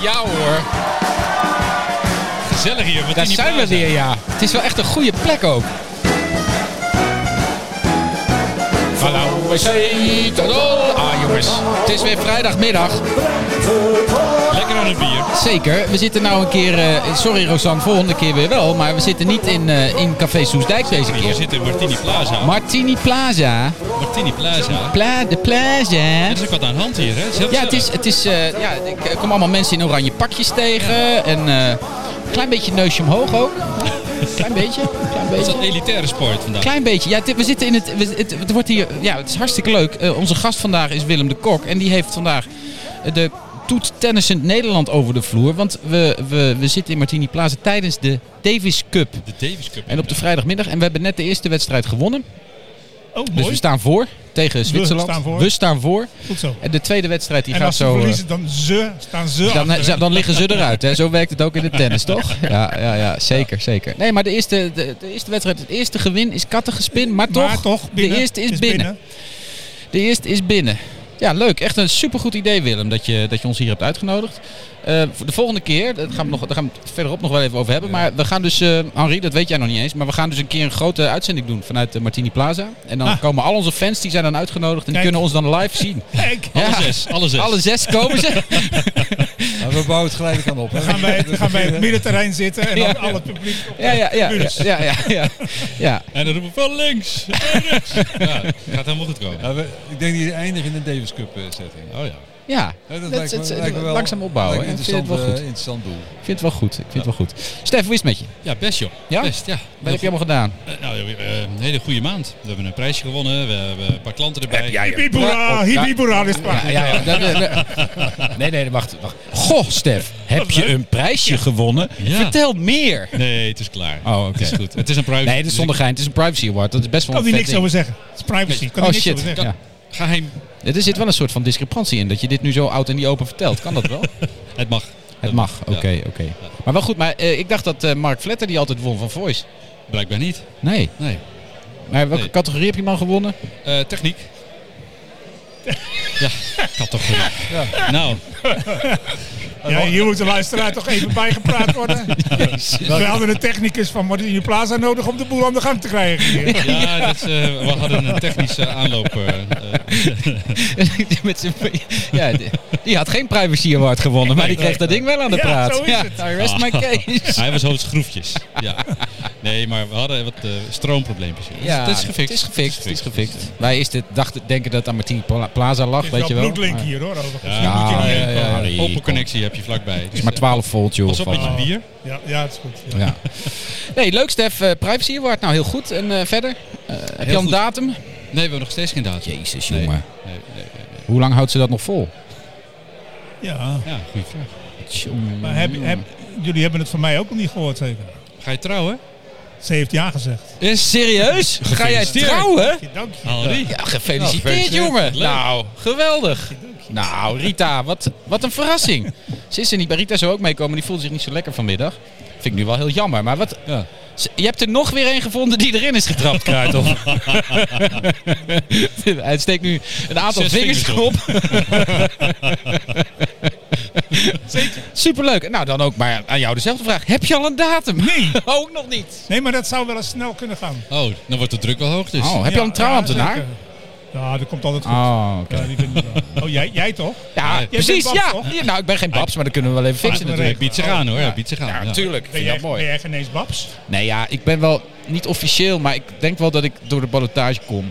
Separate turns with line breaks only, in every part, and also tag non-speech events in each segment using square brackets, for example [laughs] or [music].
Ja hoor. Gezellig hier. Met
Daar
die
zijn we
plaza.
weer, ja. Het is wel echt een goede plek ook. Van OC tot Ol- Ah jongens, het is weer vrijdagmiddag.
Lekker aan het bier.
Zeker, we zitten nou een keer... eh, sorry Rosanne, volgende keer weer wel. Maar we zitten niet in, eh, in Café Soesdijk deze
Hier
keer.
zit in Martini Plaza.
Martini Plaza.
Martini Plaza.
Pla de Plaza.
Er is ook wat aan de hand hier, hè? Het is heel
Ja, het
gezellig.
is, het is, eh, ja, ik eh, kom allemaal mensen in oranje pakjes tegen. En eh, een klein beetje neusje omhoog ook. Klein beetje, klein
Het
beetje.
is een elitaire sport vandaag.
Klein beetje. Ja, dit- we zitten in het, we- het, het wordt hier, ja, het is hartstikke leuk. Eh, onze gast vandaag is Willem de Kok. En die heeft vandaag eh, de toet tennissend Nederland over de vloer. Want we, we, we zitten in Martini Plaza tijdens de Davis Cup.
De Davis Cup.
En op de vrijdagmiddag. En we hebben net de eerste wedstrijd gewonnen.
Oh,
Dus we
mooi.
staan voor tegen Zwitserland.
staan voor.
We staan voor.
Goed zo.
En de tweede wedstrijd die
en
gaat
als ze
zo... eh,
verliezen, dan ze, staan ze
dan,
achter, hè?
dan liggen ze eruit. Hè? Zo werkt het ook in de tennis, toch? Ja, ja, ja zeker, zeker. Nee, maar de eerste, de, de eerste wedstrijd, het eerste gewin is kattengespin. Maar toch,
maar toch,
de
binnen,
eerste is, binnen. De eerste is binnen. Ja, leuk. Echt een supergoed idee, Willem, dat je, dat je ons hier hebt uitgenodigd. Eh, voor de volgende keer, dat gaan we nog, daar gaan we het verderop nog wel even over hebben. Maar we gaan dus, eh Henri, dat weet jij nog niet eens. Maar we gaan dus een keer een grote uitzending doen vanuit de Martini Plaza. En dan
Ah.
komen al onze fans, die zijn dan uitgenodigd. En die
Kijk.
kunnen ons dan live
[laughs]
zien.
Kijk,
Ja.
Alle zes. Alle zes.
[laughs] Alle zes komen ze.
Maar we bouwen het gelijk aan op. Hè? Dus
dan gaan
[laughs]
wij, dan gaan wij
eh,
in het middenterrein zitten en
Ja.
dan al het publiek op
Ja, ja, ja. Ja, ja, ja. ja, ja.
En dan roepen we van links. van rechts. ja, het gaat helemaal goed komen.
Ja, we- ik denk die eindigen in een Davis Cup eh, setting.
Oh ja.
Ja, dat
Hè, dat lijkt me-
het- het-
lijkt me wel-
langzaam opbouwen.
lijkt me
Ik vind het
Interessant,
wel
eh,
goed. Ik
interessant doel.
vind het wel goed. Ik vind het wel goed. Stef, hoe is het met je?
Ja, best joh.
Ja?
Best, ja.
Wat heb je allemaal gedaan?
Eh, Nou, eh, een hele goede maand. We hebben een prijsje gewonnen. We hebben een paar klanten erbij.
Hibiboera, hibiboera is
Ja,
maar.
Ah, ja, ja. dat- dat- dat- Nee, nee, wacht. wacht. Goh, Stef, heb je een prijsje gewonnen?
Ja.
Vertel meer.
Nee, het is klaar.
Oh, oké.
Het is goed. Het is een Dus private.
[laughs] Nee, het is zonder gein. Het is een privacy award. Dat is best wel
Kan
een
hij
vet ding.
niks over zeggen. Het is privacy.
Oh
Kan hij niks
shit.
over zeggen.
Ja.
Geheim.
Er zit wel een soort van discrepantie in. Dat je dit nu zo oud en niet open vertelt. Kan dat wel?
Het mag.
Het mag. Oké, oké. Maar wel goed. Maar eh, ik dacht dat eh, Mark Vletter die altijd won van Voice.
Blijkbaar niet.
Nee.
Nee.
Maar welke
Nee.
categorie heb je dan gewonnen?
Eh, techniek. ja, ik
[laughs]
had toch gedaan. Nou,
Ja,
Oh.
hier moet de luisteraar toch even bijgepraat
[laughs]
worden. We hadden een technicus van Martini Plaza nodig om de boel aan de gang te krijgen. hier.
ja, dat is, eh, we hadden een technische aanloop. eh, eh,
[laughs] Met zijn- ja, die- die had geen privacy award gewonnen, maar die kreeg dat ding wel aan de
Ja,
praat. Ah.
zo is het.
I rest my case.
hij was hoofd schroefjes. Ja. Nee, maar we hadden wat eh, stroomprobleempjes. Dus
[laughs] Ja,
dat is gefixt.
Het is gefixt. Het is gefixt. Wij is dit, dachten, denken dat het aan Martini Pla- Plaza lag,
Er
weet
is
je
wel
wel.
bloedlink
Maar-
hier hoor, overigens.
Ja,
Nu moet je
Ja,
niet-
ja, ja.
Open
Harry, kom.
connectie heb je vlakbij. Dus, eh,
Het is maar 12 volt, joh.
Pas op
van- eh,
met je bier.
ja, ja, het is goed. Ja.
Ja. Nee, leuk Stef. Eh, privacy award, nou heel goed. En eh, verder? Eh, heb je al een
goed.
datum?
Nee, we hebben nog steeds geen datum.
Jezus,
Nee,
jongen.
nee, nee, nee.
Hoe lang houdt ze dat nog vol?
Ja.
Ja, goede vraag.
Maar heb, heb, jullie hebben het van mij ook nog niet gehoord zeker?
Ga je trouwen?
Ze heeft ja gezegd.
Is Eh, serieus? Ga jij
Gefeliciteerd.
trouwen?
Dank je.
Henri?
Ja, gefeliciteerd,
Nou, gefeliciteerd.
jongen.
Leuk.
Nou, geweldig. Nou, Rita, wat, wat een verrassing. Ze is er niet, maar Rita zou ook meekomen. Die voelt zich niet zo lekker vanmiddag. Vind ik nu wel heel jammer. Maar wat,
Ja.
Z- je hebt er nog weer één gevonden die erin is getrapt, Kruidhof. Hij steekt nu een aantal
Zes
vingers
vingers
op. Superleuk. Nou, dan ook maar aan jou dezelfde vraag. Heb je al een datum? Nee. [laughs] ook nog niet.
Nee, maar dat zou wel eens snel kunnen gaan.
Oh, dan wordt de druk wel hoog dus.
Oh, heb je al een trouwambtenaar?
Ja, zeker. Ja, dat komt altijd goed.
Oh, oké.
Ja, die vind ik wel. Oh, jij, jij toch?
Ja,
Jij
precies.
bent Babs,
Ja.
toch?
Ja, Nou, ik ben geen babs, maar dat kunnen we wel even fixen
maar
natuurlijk.
Hij biedt zich aan hoor,
Ja.
hij biedt zich aan.
Ja,
ja.
natuurlijk.
Ben
Vind
jij,
dat
ben
mooi.
jij geen eens babs?
Nee, ja, ik ben wel niet officieel, maar ik denk wel dat ik door de ballotage kom.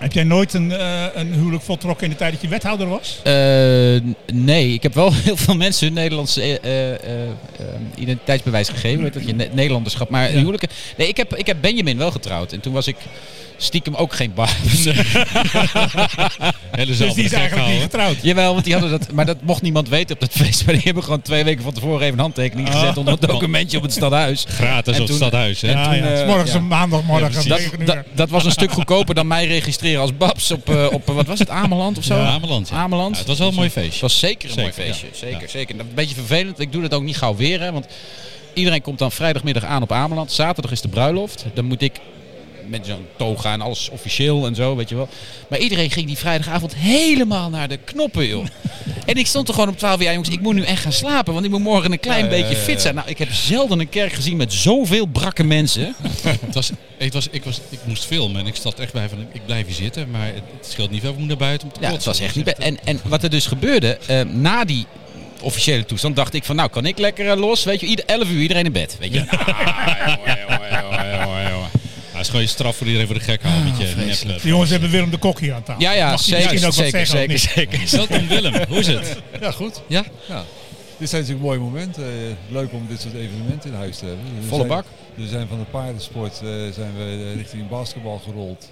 Heb jij nooit een, eh, een huwelijk voltrokken in de tijd dat je wethouder was?
Eh, n- nee, ik heb wel [laughs] heel veel mensen hun Nederlandse eh, eh, eh, eh, identiteitsbewijs gegeven. Weet dat je Ne- Nederlanderschap. Maar huwelijken. Nee, ik heb, ik heb Benjamin wel getrouwd. En toen was ik stiekem ook geen bar.
Hele
Dus die is eigenlijk niet getrouwd.
[laughs] Jawel, want die hadden dat. Maar dat mocht niemand weten op dat feest. Maar die hebben gewoon twee weken van tevoren even een handtekening
Oh.
gezet. onder een documentje op het stadhuis.
Gratis
En
op het
toen-
stadhuis, hè?
Ja, ja.
eh,
Het is morgens
ja.
een maandagmorgen.
Ja, precies.
Dat,
tegen een
dat,
uur.
dat was een stuk goedkoper dan mij registreren als Babs op, eh, op eh, wat was het, Ameland of zo?
Ja, Ameland, ja.
Ameland.
Ja, het was wel een mooi feestje.
Het was zeker een
Zeker,
mooi feestje.
ja.
Zeker,
Ja.
zeker. Een beetje vervelend. Ik doe dat ook niet gauw weer, hè, want iedereen komt dan vrijdagmiddag aan op Ameland. Zaterdag is de bruiloft. Dan moet ik met zo'n toga en alles
[laughs]
officieel en zo, weet je wel. Maar iedereen ging die vrijdagavond helemaal naar de knoppen, joh. En ik stond er gewoon om 12 uur. Ja, jongens, ik moet nu echt gaan slapen. Want ik moet morgen een klein
Ja, ja,
beetje
ja,
fit
ja.
zijn. Nou, ik heb zelden een kerk gezien met zoveel brakke mensen.
Het was, het was, ik, was, ik moest filmen en ik zat echt bij van ik blijf hier zitten, maar het, het scheelt niet veel, we moeten naar buiten om te
Ja, het
kotsen.
was echt niet best. En, en wat er dus gebeurde, eh, na die officiële toestand, dacht ik van nou, kan ik lekker eh, los? Weet je, ieder, 11 uur iedereen in bed. Weet je, Nou,
Ja, het is gewoon je straf voor iedereen voor de gek houden met je nep.
De jongens hebben Willem de Kok hier aan tafel.
ja, ja,
Mag je
zeker,
misschien
zeker,
ook
zeker,
wat zeggen, of
zeker,
niet?
Welkom Willem, hoe is het?
Ja, goed.
Ja,
Ja. Dit zijn natuurlijk mooie momenten. Eh, leuk om dit soort evenementen in huis te hebben. We
Volle
zijn-
bak.
We zijn van de paardensport eh, zijn we eh, richting basketbal gerold.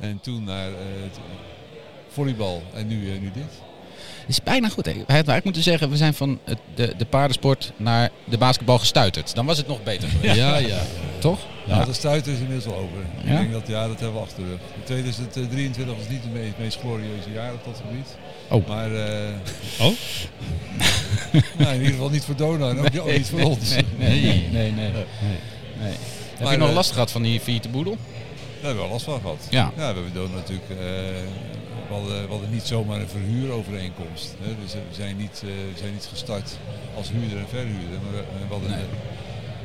En toen naar eh, het volleybal. En nu, eh, nu dit.
het is bijna goed. hè. Hij had eigenlijk moeten zeggen, we zijn van het, de, de paardensport naar de basketbal gestuiterd. Dan was het nog beter geweest.
Ja, ja. ja.
Toch?
Ja, dat stuit is inmiddels al over.
Ja?
Ik denk dat ja, dat hebben we achter de rug. 2023 was niet het meest, meest glorieuze jaar op dat gebied.
Oh.
Maar eh,
Oh?
[laughs] nou, in ieder geval niet voor Dona en ook, ook niet voor ons.
Nee, nee, nee. Heb je
Maar,
nog
eh,
last gehad van die failliete boedel?
Daar hebben we wel last van gehad.
Ja.
we hebben door natuurlijk eh, we, hadden, we hadden niet zomaar een verhuurovereenkomst. Hè. Dus eh, we zijn, niet, eh, we zijn niet gestart als huurder en verhuurder, maar we, eh, we hadden een,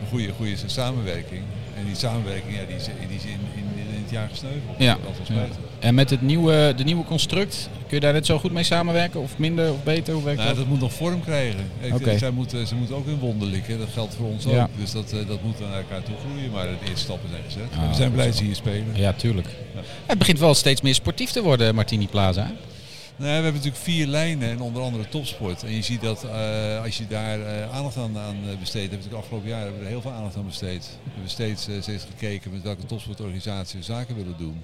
een goede, goede samenwerking. En die samenwerking ja, die is, die is in, in, in het jaar gesneuveld.
Ja.
Dat was spijtig.
En met het nieuwe, de nieuwe construct, kun je daar net zo goed mee samenwerken? Of minder, of beter? Hoe werkt
Nou,
dat?
dat moet nog vorm krijgen. Ik-
Oké.
Zij moeten, ze moeten ook hun wonden likken. Dat geldt voor ons
Ja.
ook. Dus dat, eh, dat moet naar elkaar toe groeien. Maar de eerste stappen zijn gezet.
Ah,
we zijn blij
goed
dat ze hier spelen.
Ja, tuurlijk. Het begint wel steeds meer sportief te worden, Martini Plaza. hè?
Nou, ja, we hebben natuurlijk vier lijnen en onder andere topsport. En je ziet dat eh, als je daar eh, aandacht aan, aan eh, besteedt, hebben we natuurlijk afgelopen jaar hebben we er heel veel aandacht aan besteed. We hebben steeds, eh, steeds gekeken met welke topsportorganisatie we zaken willen doen.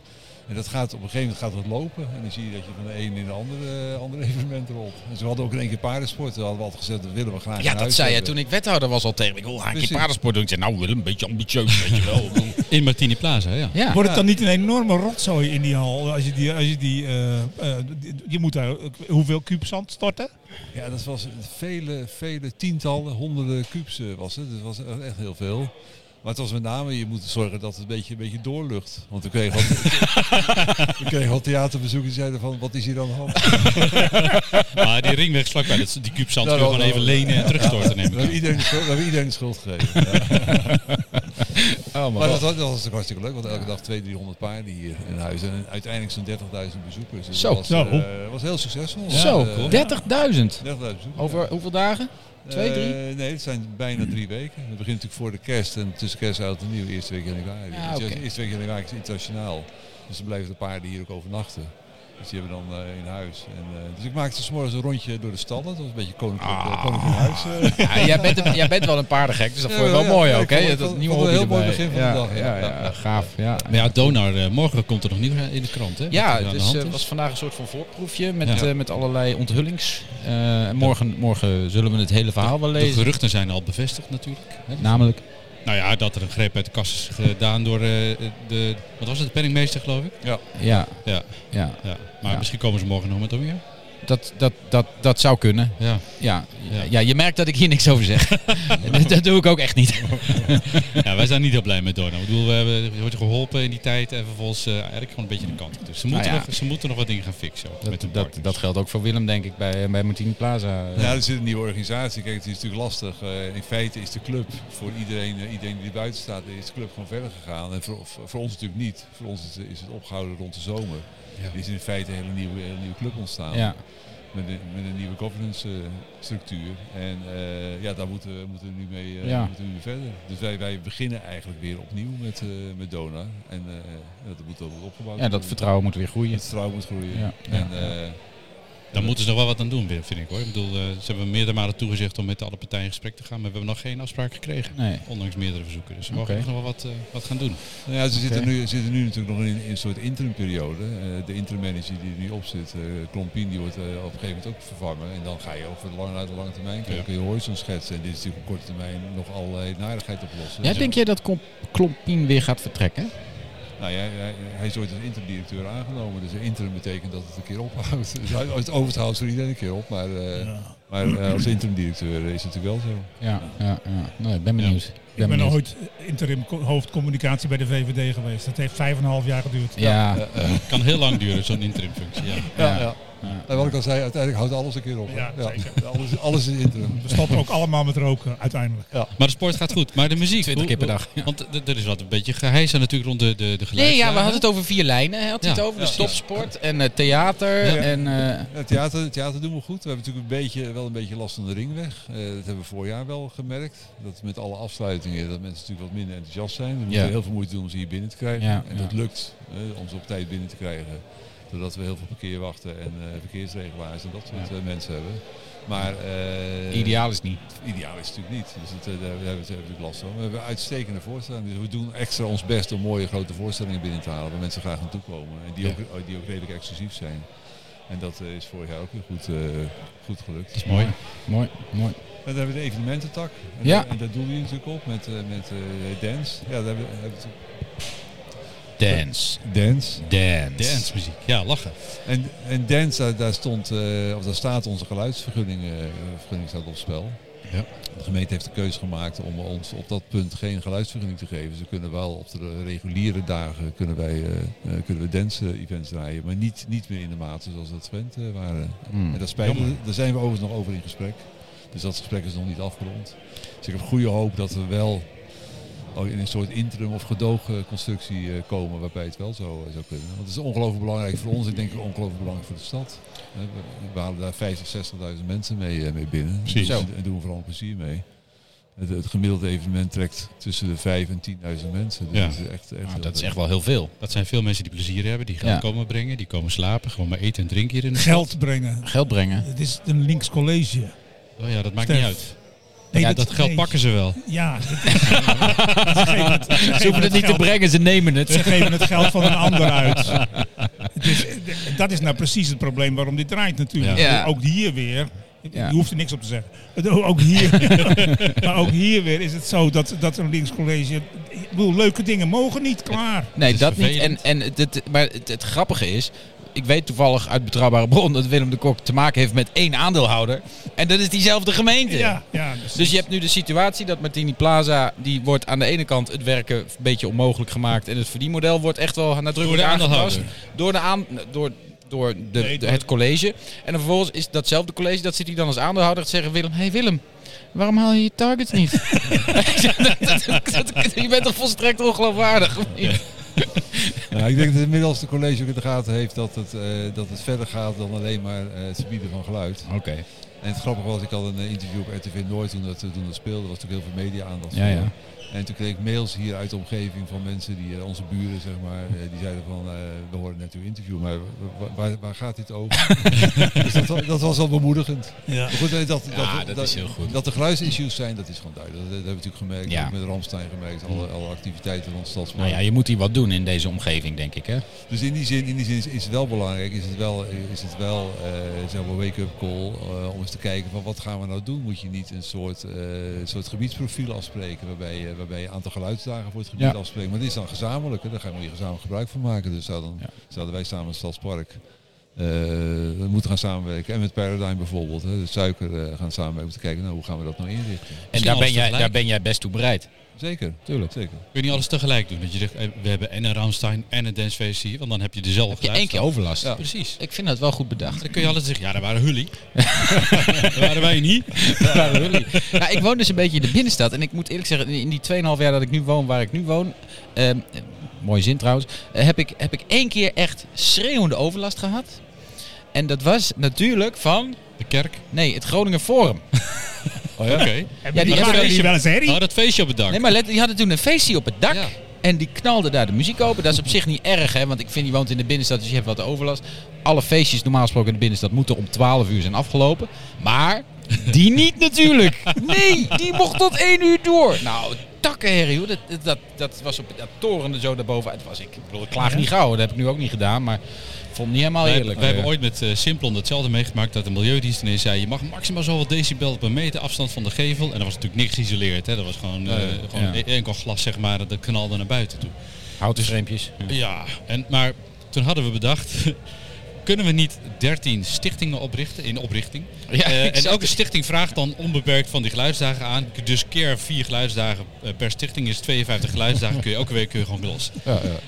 En dat gaat op een gegeven moment gaat dat lopen. En dan zie je dat je van de een in de andere, eh, andere [laughs] evenement rolt. En ze hadden ook in één keer paardensport. Daar hadden we altijd gezegd, dat willen we graag in
Ja, dat
huis
zei je
hebben.
toen ik wethouder was al tegen me. Ik wil een keer
Precies.
paardensport doen. Ik zei, nou Willem, een beetje ambitieus, weet je wel.
In Martini Plaza, ja.
Ja,
Wordt het dan niet een enorme rotzooi in die hal? Als je, die, als je, die, eh, eh, die- je moet daar eh, hoeveel kuub zand storten?
Ja, dat was vele, vele tientallen, honderden kubus eh, was het. Dat was echt heel veel. Maar het was met name, je moet zorgen dat het een beetje, een beetje doorlucht. Want we kregen al, we kregen al theaterbezoekers die zeiden van, wat is hier aan de hand?
Maar die ringweg is vlakbij, dat is- die kuubzand kun je
Nou,
gewoon
nou,
even
nou.
lenen en terugstorten
We
nemen.
hebben iedereen de schuld, we hebben iedereen de schuld gegeven. Ja.
Oh,
Maar dat, was- dat was natuurlijk hartstikke leuk, want elke dag 200, 300 paarden hier in huis. En uiteindelijk zo'n 30.000 bezoekers. Dus
Zo.
dat was,
Nou.
eh, was heel succesvol.
Oh, Zo,
Eh,
30.000.
30.000 bezoekers.
Over hoeveel dagen? Twee, drie?
Eh, nee, het zijn bijna drie weken. Het begint natuurlijk voor de kerst en tussen kerst en oud en nieuw, eerste week januari.
Ja,
Dus
Ah, oké.
Eerste week januari is internationaal. Dus dan blijven de paarden hier ook overnachten. Dus die hebben dan eh, in huis. En, eh, dus ik maakte s'morgens een rondje door de stallen. Dat was een beetje koninklijk, eh, koninklijk huis. eh.
Ja, jij, bent een- jij bent wel een paardengek, dus dat
Ja,
vond ik wel
ja,
mooi
ja,
ook.
ik
hè?
vond-
Dat
ik vond-
nieuwe
vond het een
hobby
heel mooi
erbij.
begin van de
Ja,
dag,
Ja,
ja.
ja, gaaf. Ja,
Maar ja, Donar, eh, morgen komt er nog nieuws in de krant, hè?
ja
Wat er aan de
dus
hand
eh,
is.
was vandaag een soort van voorproefje met,
Ja.
eh, met allerlei onthullings. Eh, en morgen, morgen zullen we het hele verhaal wel
De
lezen.
geruchten zijn al bevestigd natuurlijk. Hè?
Namelijk,
Nou ja, dat er een greep uit de kast is gedaan door eh, de... Wat was het? De penningmeester, geloof ik?
ja,
Ja.
ja.
ja. Maar
Ja.
misschien komen ze morgen nog met hem weer.
Dat, dat, dat, dat zou kunnen.
Ja.
Ja, ja.
Ja.
je merkt dat ik hier niks over zeg. [laughs] dat, dat doe ik ook echt niet.
[laughs] Ja, wij zijn niet heel blij met Dona. Ik bedoel, we hebben, je wordt geholpen in die tijd en vervolgens eh, eigenlijk gewoon een beetje aan de kant. Dus ze moeten,
Nou ja.
nog, ze moeten nog wat dingen gaan fixen. ook met
Dat,
hun
dat,
partners.
dat geldt ook voor Willem, denk ik, bij, bij Martini Plaza.
Ja, er zit een nieuwe organisatie. Kijk, het is natuurlijk lastig. Eh, in feite is de club voor iedereen, eh, iedereen die er buiten staat, is de club gewoon verder gegaan. En voor, voor, voor ons natuurlijk niet. Voor ons is, is het opgehouden rond de zomer.
Ja.
Er is in feite een hele nieuwe, hele nieuwe club ontstaan.
Ja.
Met, een, met een nieuwe governance eh, structuur. En eh, ja, daar moeten we, moeten we nu mee eh,
Ja.
moeten we nu verder. Dus wij, wij beginnen eigenlijk weer opnieuw met, eh, met Dona. En eh, dat moet wel weer opgebouwd
ja, dat
worden.
vertrouwen moet weer groeien.
Het vertrouwen moet groeien.
Ja.
En, eh,
Daar moeten ze nog wel wat aan doen, vind ik hoor. Ik bedoel, eh, ze hebben meerdere malen toegezegd om met alle partijen in gesprek te gaan, maar we hebben nog geen afspraak gekregen.
Nee.
Ondanks meerdere verzoeken. Dus we mogen
Oké.
echt nog wel wat, eh, wat gaan doen.
Nou ja, ze zitten, nu, zitten nu natuurlijk nog in, in een soort interimperiode. Eh, de interim manager die er nu op zit, eh Klompien, die wordt eh, op een gegeven moment ook vervangen. En dan ga je over de lange, naar de lange termijn kijken.
Ja.
Kun je horizon schetsen. En dit is natuurlijk op korte termijn nog allerlei narigheid oplossen. Dus
Ja, denk jij dat Kom- Klompien weer gaat vertrekken?
Nou ja, hij, hij is ooit als interim-directeur aangenomen. Dus een interim betekent dat het een keer ophoudt. [laughs] Dus hij- het overhoudt voor iedereen een keer op. Maar, eh, maar eh, als interim-directeur is het natuurlijk wel zo.
Ja, ja, ja. Nee, ik ben
Ja.
benieuwd.
Ik ben
benieuwd.
ooit interim co- hoofdcommunicatie bij de VVD geweest. Dat heeft 5,5 jaar geduurd.
Ja,
Eh, Het kan heel lang duren, zo'n interimfunctie. Ja.
ja.
ja. En Nou, wat ik al zei, uiteindelijk houdt alles een keer op. hè?
Ja, zeker.
Alles, alles is interim.
We stoppen ook allemaal met roken uiteindelijk.
Maar de sport gaat goed. Maar de muziek.
20 keer per dag,
Want d- er is wat een beetje geheizen natuurlijk rond de, de, de
Nee, ja,
geluidslijnen.
we hadden het over vier lijnen. hè, Had hij
Ja.
het over?
Ja.
Dus topsport en eh, theater.
Ja.
En, eh,
Ja, het theater, het theater doen we goed. We hebben natuurlijk een beetje, wel een beetje last van de ringweg. Eh, dat hebben we voorjaar wel gemerkt. Dat met alle afsluitingen, dat mensen natuurlijk wat minder enthousiast zijn. We moeten heel veel moeite doen om ze hier binnen te krijgen.
Ja,
en
ja.
dat lukt, eh, om ze op tijd binnen te krijgen. Doordat we heel veel parkeerwachten en eh, verkeersregelaars en dat soort eh, mensen hebben. Maar eh,
ideaal is niet.
ideaal is het natuurlijk niet. Dus dat, eh, daar hebben we daar hebben we natuurlijk last van. We hebben uitstekende voorstellingen. Dus we doen extra ons best om mooie grote voorstellingen binnen te halen. Waar mensen graag naartoe komen. En die,
Ja.
ook, oh, die ook redelijk exclusief zijn. En dat eh, is vorig jaar ook weer goed, eh, goed gelukt.
Dat is mooi.
Mooi, mooi.
En dan hebben we de evenemententak. En,
Ja.
daar, en daar doen we natuurlijk op met, eh, met eh, dance. Ja, daar hebben, we- hebben
Dance.
we dance.
Dance.
Dance muziek. Ja, lachen.
En, en dance, daar, daar stond, eh, of daar staat onze geluidsvergunning eh, vergunning staat op spel.
Ja.
De gemeente heeft de keuze gemaakt om ons op dat punt geen geluidsvergunning te geven. Ze kunnen wel op de reguliere dagen kunnen wij, eh, eh, kunnen we dance events draaien, maar niet, niet meer in de mate zoals dat gewend eh, waren.
Hmm.
En dat spijt me.
Jammer.
Daar zijn we overigens nog over in gesprek. Dus dat gesprek is nog niet afgerond. Dus ik heb goede hoop dat we wel oh, in een soort interim of gedoogconstructie eh, komen waarbij het wel zo eh, zou kunnen. Want het is ongelooflijk belangrijk voor ons. Ik denk ook ongelooflijk belangrijk voor de stad. Eh, We, we halen daar 50, 60.000 mensen mee, eh, mee binnen.
Precies.
En, en doen we vooral plezier mee. Het, het gemiddelde evenement trekt tussen de 5 en 10.000 mensen. Dus
Ja.
dat is echt, echt heel
Nou, dat is
leuk.
echt wel heel veel.
Dat zijn veel mensen die plezier hebben. Die gaan
Ja.
komen brengen. Die komen slapen. Gewoon maar eten en drinken hier in de
Geld brengen.
Geld brengen.
Het is een links college.
Oh ja, dat maakt
Stef.
niet uit.
Nee,
ja,
dit-
dat geld
nee.
pakken ze wel.
Ja, dat [laughs]
Ze hoeven het niet te brengen, ze nemen het. [laughs]
Ze geven het geld van een ander uit. Het is- dat is nou precies het probleem waarom dit draait natuurlijk.
Ja. Ja.
Ook hier weer. Je
Ja.
hoeft er niks op te zeggen. Het- Ook hier, [laughs] maar ook hier weer is het zo dat, dat een linkscollege... Ik bedoel, leuke dingen mogen niet, klaar.
Nee,
Het is
dat niet.
vervelend.
En, en het- het, maar het, het grappige is, ik weet toevallig uit betrouwbare bron dat Willem de Kok te maken heeft met één aandeelhouder. En dat is diezelfde gemeente.
Ja, ja, dus-
Dus je hebt nu de situatie dat Martini Plaza, die wordt aan de ene kant het werken een beetje onmogelijk gemaakt. En het verdienmodel wordt echt wel nadrukkelijk
Door de
aangepast.
aandeelhouder.
Door, de aan, door, door de,
Nee,
de-
door-
het college. En dan vervolgens is datzelfde college, dat zit hij dan als aandeelhouder te zeggen, Willem, hé hey Willem. Waarom haal je je targets
[laughs]
niet? [laughs] je bent toch volstrekt ongeloofwaardig? of niet?
Ja, ik denk dat inmiddels de college ook in de gaten heeft dat het, eh, dat het verder gaat dan alleen maar eh, het verbieden van geluid.
Oké.
En het grappige was, ik had een eh, interview op RTV Noord toen dat, eh, toen dat speelde. was natuurlijk heel veel media-aandacht
Ja,
voor.
ja.
En toen kreeg ik mails hier uit de omgeving van mensen, die, eh, onze buren zeg maar, eh, die zeiden van, eh, we horen net uw interview, maar wa- wa- waar, waar gaat dit
[laughs]
over? dus dat, wa- dat was al bemoedigend.
ja.
Maar goed, eh, dat,
Ja, dat is heel goed.
Dat de geluidsissues zijn, dat is gewoon duidelijk. Dat, dat hebben we natuurlijk gemerkt,
Ja.
ook met Ramstein gemerkt, alle, alle activiteiten rond Stadspark.
Nou ja, je moet hier wat doen in deze omgeving, denk ik. Hè?
Dus in die zin, in die zin is, is het wel belangrijk, is het wel, is het wel eh, zeg maar een wake-up call eh, om eens te kijken van wat gaan we nou doen? Moet je niet een soort, eh, soort gebiedsprofiel afspreken waarbij, je- waarbij je een aantal geluidsdagen voor het gebied
Ja.
afspreekt. Maar dit is dan gezamenlijk, hè? daar gaan we hier gezamenlijk gebruik van maken. Dus zouden,
Ja.
zouden wij samen als Stadspark eh, we moeten gaan samenwerken. En met Paradigm bijvoorbeeld, hè? de suiker eh, gaan samenwerken om te kijken nou, hoe gaan we dat nou inrichten.
En
Misschien
daar ben,
alles
jij,
tegelijk.
daar ben jij best toe bereid.
Zeker,
Tuurlijk.
zeker.
Kun je niet alles tegelijk doen. Dat je zegt, eh, we hebben en een Ramstein en een dancefeest hier. Want dan heb je dezelfde
Heb je één keer
geluidsstand.
overlast.
Ja.
Precies.
Ik vind dat wel goed bedacht.
[laughs] Dan kun je altijd zeggen, ja, daar waren jullie. [laughs] daar waren wij niet.
nou, ik woon dus een beetje in de binnenstad. En ik moet eerlijk zeggen, in die 2,5 jaar dat ik nu woon waar ik nu woon. ehm, eh, mooie zin trouwens. eh, heb, ik, heb ik één keer echt schreeuwende overlast gehad. En dat was natuurlijk van.
De kerk.
Nee, het Groningen Forum.
Oh ja. Oké.
ja, die
die
maken
hebben-
die wel eens herrie.
Nou, dat feestje op het dak.
Nee, maar let, die hadden toen een feestje op het dak.
Ja.
En die knalde daar de muziek open. Dat is op zich niet erg, hè? Want ik vind, je woont in de binnenstad, dus je hebt wat overlast. Alle feestjes normaal gesproken in de binnenstad moeten om 12 uur zijn afgelopen. Maar
[laughs]
die niet natuurlijk. Nee, die mocht tot 1 uur door. Nou, takkenherrie, hoor. Dat, dat- dat, dat was op dat torende zo daarboven. Het was ik. Ik bedoel, ik klaag niet gauw. Dat heb ik nu ook niet gedaan. Maar ik vond het niet helemaal
Wij,
eerlijk.
wij
Eh,
hebben ooit met eh, Simplon hetzelfde meegemaakt dat de milieudienst ineens zei je mag maximaal zoveel decibel per meter afstand van de gevel. En dat was natuurlijk niks geïsoleerd. Hè. Dat was gewoon, eh
Nee,
gewoon
ja.
e- enkel glas zeg maar, dat knalde naar buiten toe. Dus
houten streempjes.
Ja, en, maar toen hadden we bedacht, [laughs] kunnen we niet 13 stichtingen oprichten in oprichting?
Ja,
Eh, en
exact.
elke stichting vraagt dan onbeperkt van die geluidsdagen aan. Dus keer vier geluidsdagen eh, per stichting is
[laughs]
52 geluidsdagen. kun je elke week kun je gewoon los.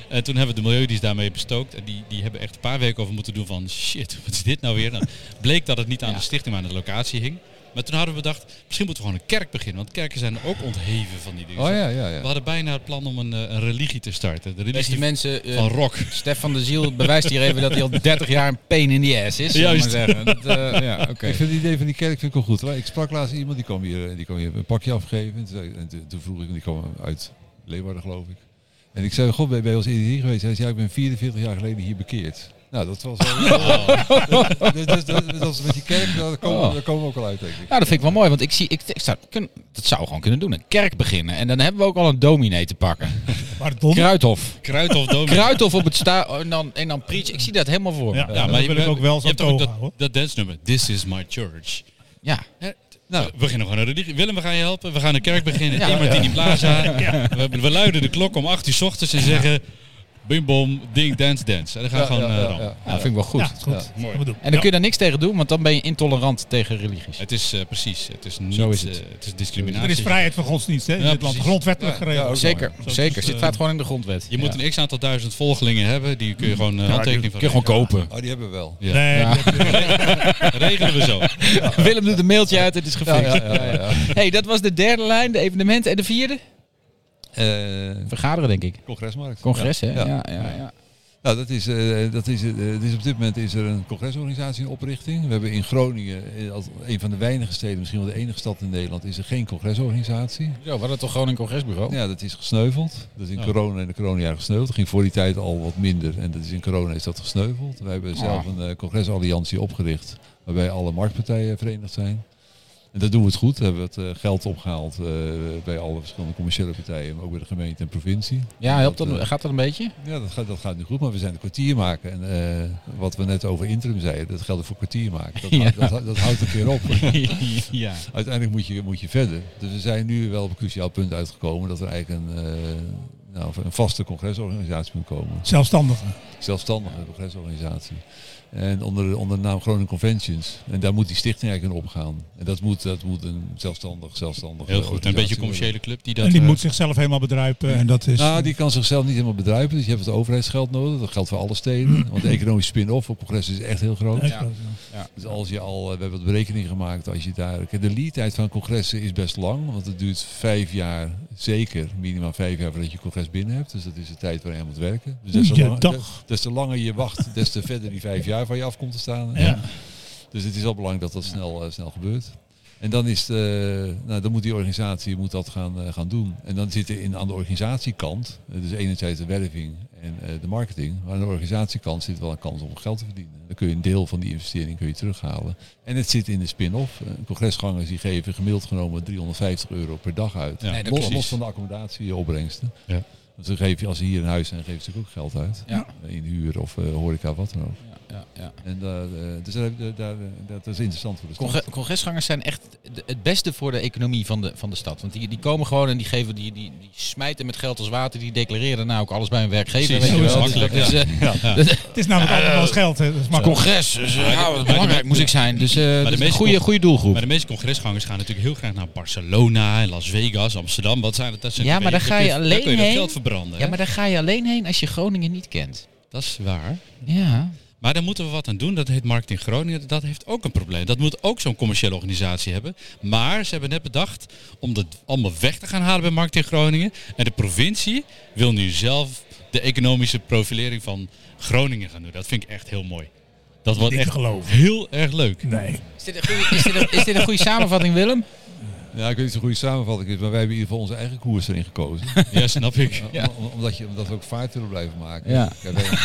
En toen hebben we de milieudienst daarmee bestookt. En die, die hebben echt een paar weken over moeten doen van shit, [laughs] wat is dit nou weer? Nou, bleek dat het niet aan de stichting, maar aan de locatie hing. Maar toen hadden we bedacht, misschien moeten we gewoon een kerk beginnen. Want kerken zijn ook ontheven van die dingen.
Oh ja, ja,
We
ja.
hadden bijna het plan om een, eh, een religie te starten. De religie
Beste mensen, eh,
van rock.
Stefan de Ziel bewijst hier even dat hij al 30 jaar een pain in the ass is. zullen we
Juist.
Maar zeggen. Dat, eh, ja, oké.
Ik vind het idee van die kerk vind ik wel goed. hoor. Ik sprak laatst iemand die kwam hier, eh, die kwam hier een pakje afgeven. En toen, zei- en toen- toen vroeg ik, die kwam uit Leeuwarden geloof ik. En ik zei, god, ben je bij ons eerder hier geweest? Hij zei, ja, ik ben 44 jaar geleden hier bekeerd. Nou, dat was wel... dus, dus, dus, dus als met die kerk, daar komen, we- daar komen we ook al uit, denk ik.
Nou, dat vind ik wel mooi, want ik zie, ik, ik zou, kun- dat zou gewoon kunnen doen. Een kerk beginnen en dan hebben we ook al een dominee te pakken.
Pardon?
Kruidhof.
Kruid of dominee.
Kruidhof op het sta en dan, en dan preach. Ik zie dat helemaal voor. me.
Ja, dat wil ik ook wel
je
zo'n
hebt toch ook
toga
dat,
houden.
dat dansnummer. This is my church.
ja.
Nou, we beginnen gewoon naar de religie. Willem, we gaan je helpen. We gaan een kerk beginnen.
Ja.
in Martini Plaza. We, hebben- we luiden de klok om 8 uur 's ochtends en zeggen... Bim bom, ding, dance, dance. En dan gaan we
Ja,
gewoon
ja,
eh,
ja,
rammen.
ja.
Ja, dat vind ik wel goed.
Ja, is goed.
Ja,
mooi.
Gaan we doen.
En dan kun je daar niks tegen doen, want dan ben je intolerant tegen religies.
Het is eh, precies. Het is niet...
Zo is het.
eh, het is
Ja.
discriminatie.
Er is vrijheid van godsdienst hè, in
Ja,
dit land.
precies.
Grondwettelijk
Ja,
geregeld.
ja, ook.
Zeker,
Zo,
zeker.
dus,
Dit
eh,
staat gewoon in de grondwet.
Je moet
Ja.
een x-aantal duizend volgelingen hebben. Die kun je gewoon eh, handtekening van
kun je gewoon kopen.
Oh, die hebben we wel.
Ja.
Nee,
Ja.
dat-
Regelen we zo.
[laughs] Willem doet een mailtje uit, het is gefixt.
Ja, ja, ja, ja.
hey, dat was de derde lijn, de evenementen. En de vierde?
Eh,
Vergaderen, denk ik.
congresmarkt.
Congres, hè?
Ja.
Ja, ja, ja.
Nou, dat is, eh, dat is, eh, dus op dit moment is er een congresorganisatie in oprichting. We hebben in Groningen, eh, als een van de weinige steden, misschien wel de enige stad in Nederland, is er geen congresorganisatie.
Zo, we hadden toch gewoon een congresbureau?
Ja, dat is gesneuveld. Dat is in
Ja.
corona en de coronajaren gesneuveld. Dat ging voor die tijd al wat minder en dat is in corona is dat gesneuveld. Wij hebben zelf een eh, congresalliantie opgericht waarbij alle marktpartijen verenigd zijn. En dat doen we het goed. We hebben het eh, geld opgehaald eh, bij alle verschillende commerciële partijen, maar ook bij de gemeente en provincie.
Ja, helpt
eh,
dat, gaat dat een beetje?
Ja, dat gaat, dat gaat nu goed, maar we zijn de kwartier maken. En eh, wat we net over interim zeiden, dat geldt ook voor kwartier
[laughs]
maken. Dat, houdt- dat, houdt- dat houdt een keer op. [laughs]
ja.
Uiteindelijk moet je, moet je verder. Dus we zijn nu wel op een cruciaal punt uitgekomen dat er eigenlijk een, eh, nou, een vaste congresorganisatie moet komen.
Zelfstandigen.
Zelfstandige congresorganisatie. En onder, de- onder de naam Groningen Conventions. En daar moet die stichting eigenlijk in opgaan. En dat moet, dat moet een zelfstandig, zelfstandig.
Heel goed. En Een beetje een commerciële club die dat...
En die
eh,
moet zichzelf helemaal bedruipen. En dat is...
Nou, die kan zichzelf niet helemaal bedruipen. Dus je hebt het overheidsgeld nodig. Dat geldt voor alle steden. Want de economische spin-off op congres is echt heel groot.
Ja.
Dus als je al, eh, we hebben wat berekeningen gemaakt, als je daar. Kijk, De leadtijd van congressen is best lang, want het duurt vijf jaar, zeker minimaal vijf jaar voordat je congres binnen hebt. Dus dat is de tijd waarin je aan moet werken. Dus des te,
Ja,
lang-
dag.
des- des te langer je wacht, des te verder die vijf jaar van je af komt te staan.
Ja.
Dus het is wel belangrijk dat dat snel, eh, snel gebeurt. En dan, is de, nou, dan moet die organisatie moet dat gaan, eh, gaan doen. En dan zit er in, aan de organisatiekant, eh, dus enerzijds de werving en eh, de marketing, maar aan de organisatiekant zit wel een kans om geld te verdienen. Dan kun je een deel van die investering kun je terughalen. En het zit in de spin-off. Eh, congresgangers die geven gemiddeld genomen 350 euro per dag uit.
Ja, Nee, dat
los,
precies.
los van de accommodatieopbrengsten.
Ja.
Want ze geven, als ze hier in huis zijn, geven ze natuurlijk ook geld uit.
Ja.
Eh, In huur of eh, horeca, wat dan ook.
ja, ja.
En daar, eh, dus daar, daar, daar, dat is interessant voor de stad.
Congre- congresgangers zijn echt de- het beste voor de economie van de, van de stad. Want die, die komen gewoon en die, geven, die, die, die smijten met geld als water. Die declareren daarna ook alles bij hun werkgever.
Precies,
weet je
zo
wel.
is
Dus
het
dat is, eh,
Het is namelijk
eh,
allemaal als geld. Hè. Dat is makkelijk.
Congres, dus, eh, ja, wat
maar de-
belangrijk moest ik zijn. Dus, eh, dat is een
meeste
goede,
con-
goede doelgroep.
Maar de meeste congresgangers gaan natuurlijk heel graag naar Barcelona, en Las Vegas, Amsterdam. Wat zijn het? Dat zijn
Ja,
die
maar daar
weken-
ga je
kun
alleen
je dat
heen.
geld verbranden.
ja,
hè?
maar daar ga je alleen heen als je Groningen niet kent.
Dat is waar.
Ja.
Maar daar moeten we wat aan doen. Dat heet Marketing Groningen. Dat heeft ook een probleem. Dat moet ook zo'n commerciële organisatie hebben. Maar ze hebben net bedacht om dat allemaal weg te gaan halen bij Marketing Groningen. En de provincie wil nu zelf de economische profilering van Groningen gaan doen. Dat vind ik echt heel mooi. Dat wordt
Niet te
echt
geloven.
heel erg leuk.
Nee.
Is dit een goede, is dit een, is dit een goede samenvatting, Willem?
Ja, ik weet niet of het een goede samenvatting is, maar wij hebben in ieder geval onze eigen koers erin gekozen.
Ja, snap
[laughs]
ik.
Ja.
Om- omdat, je, omdat we ook vaart willen blijven maken.
Ja.
Kijk, wij-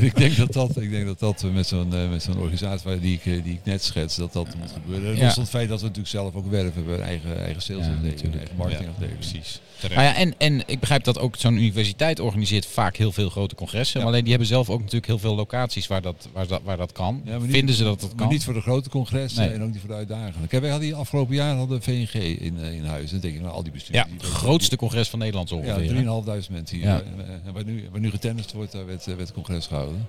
en ik denk dat dat, ik denk dat, dat we met zo'n eh, met zo'n organisatie waar- die ik, eh, die ik net schets, dat dat moet gebeuren. En
Ja.
Los van het feit dat we natuurlijk zelf ook werven, we hebben een eigen, eigen salesafdeling,
natuurlijk.
eigen marketingafdeling.
Precies.
Nou
Terecht.
ja, en, en ik begrijp dat ook zo'n universiteit organiseert vaak heel veel grote congressen. Maar alleen die hebben zelf ook natuurlijk heel veel locaties waar dat, waar dat, waar dat kan.
Ja, maar niet-
Vinden ze dat dat
Maar
kan?
niet voor de grote congressen
Nee.
en ook niet voor de uitdagingen. Kijk, wij hadden hier afgelopen jaar hadden we VNG in, eh, in huis. En dan denk ik, nou, al die besturen.
ja, het grootste congres van Nederland zo
Ja,
ongeveer. hè?
3.500 mensen hier.
Ja.
En waar nu, waar nu getennist wordt, daar werd, eh, werd eh, het congres gehouden.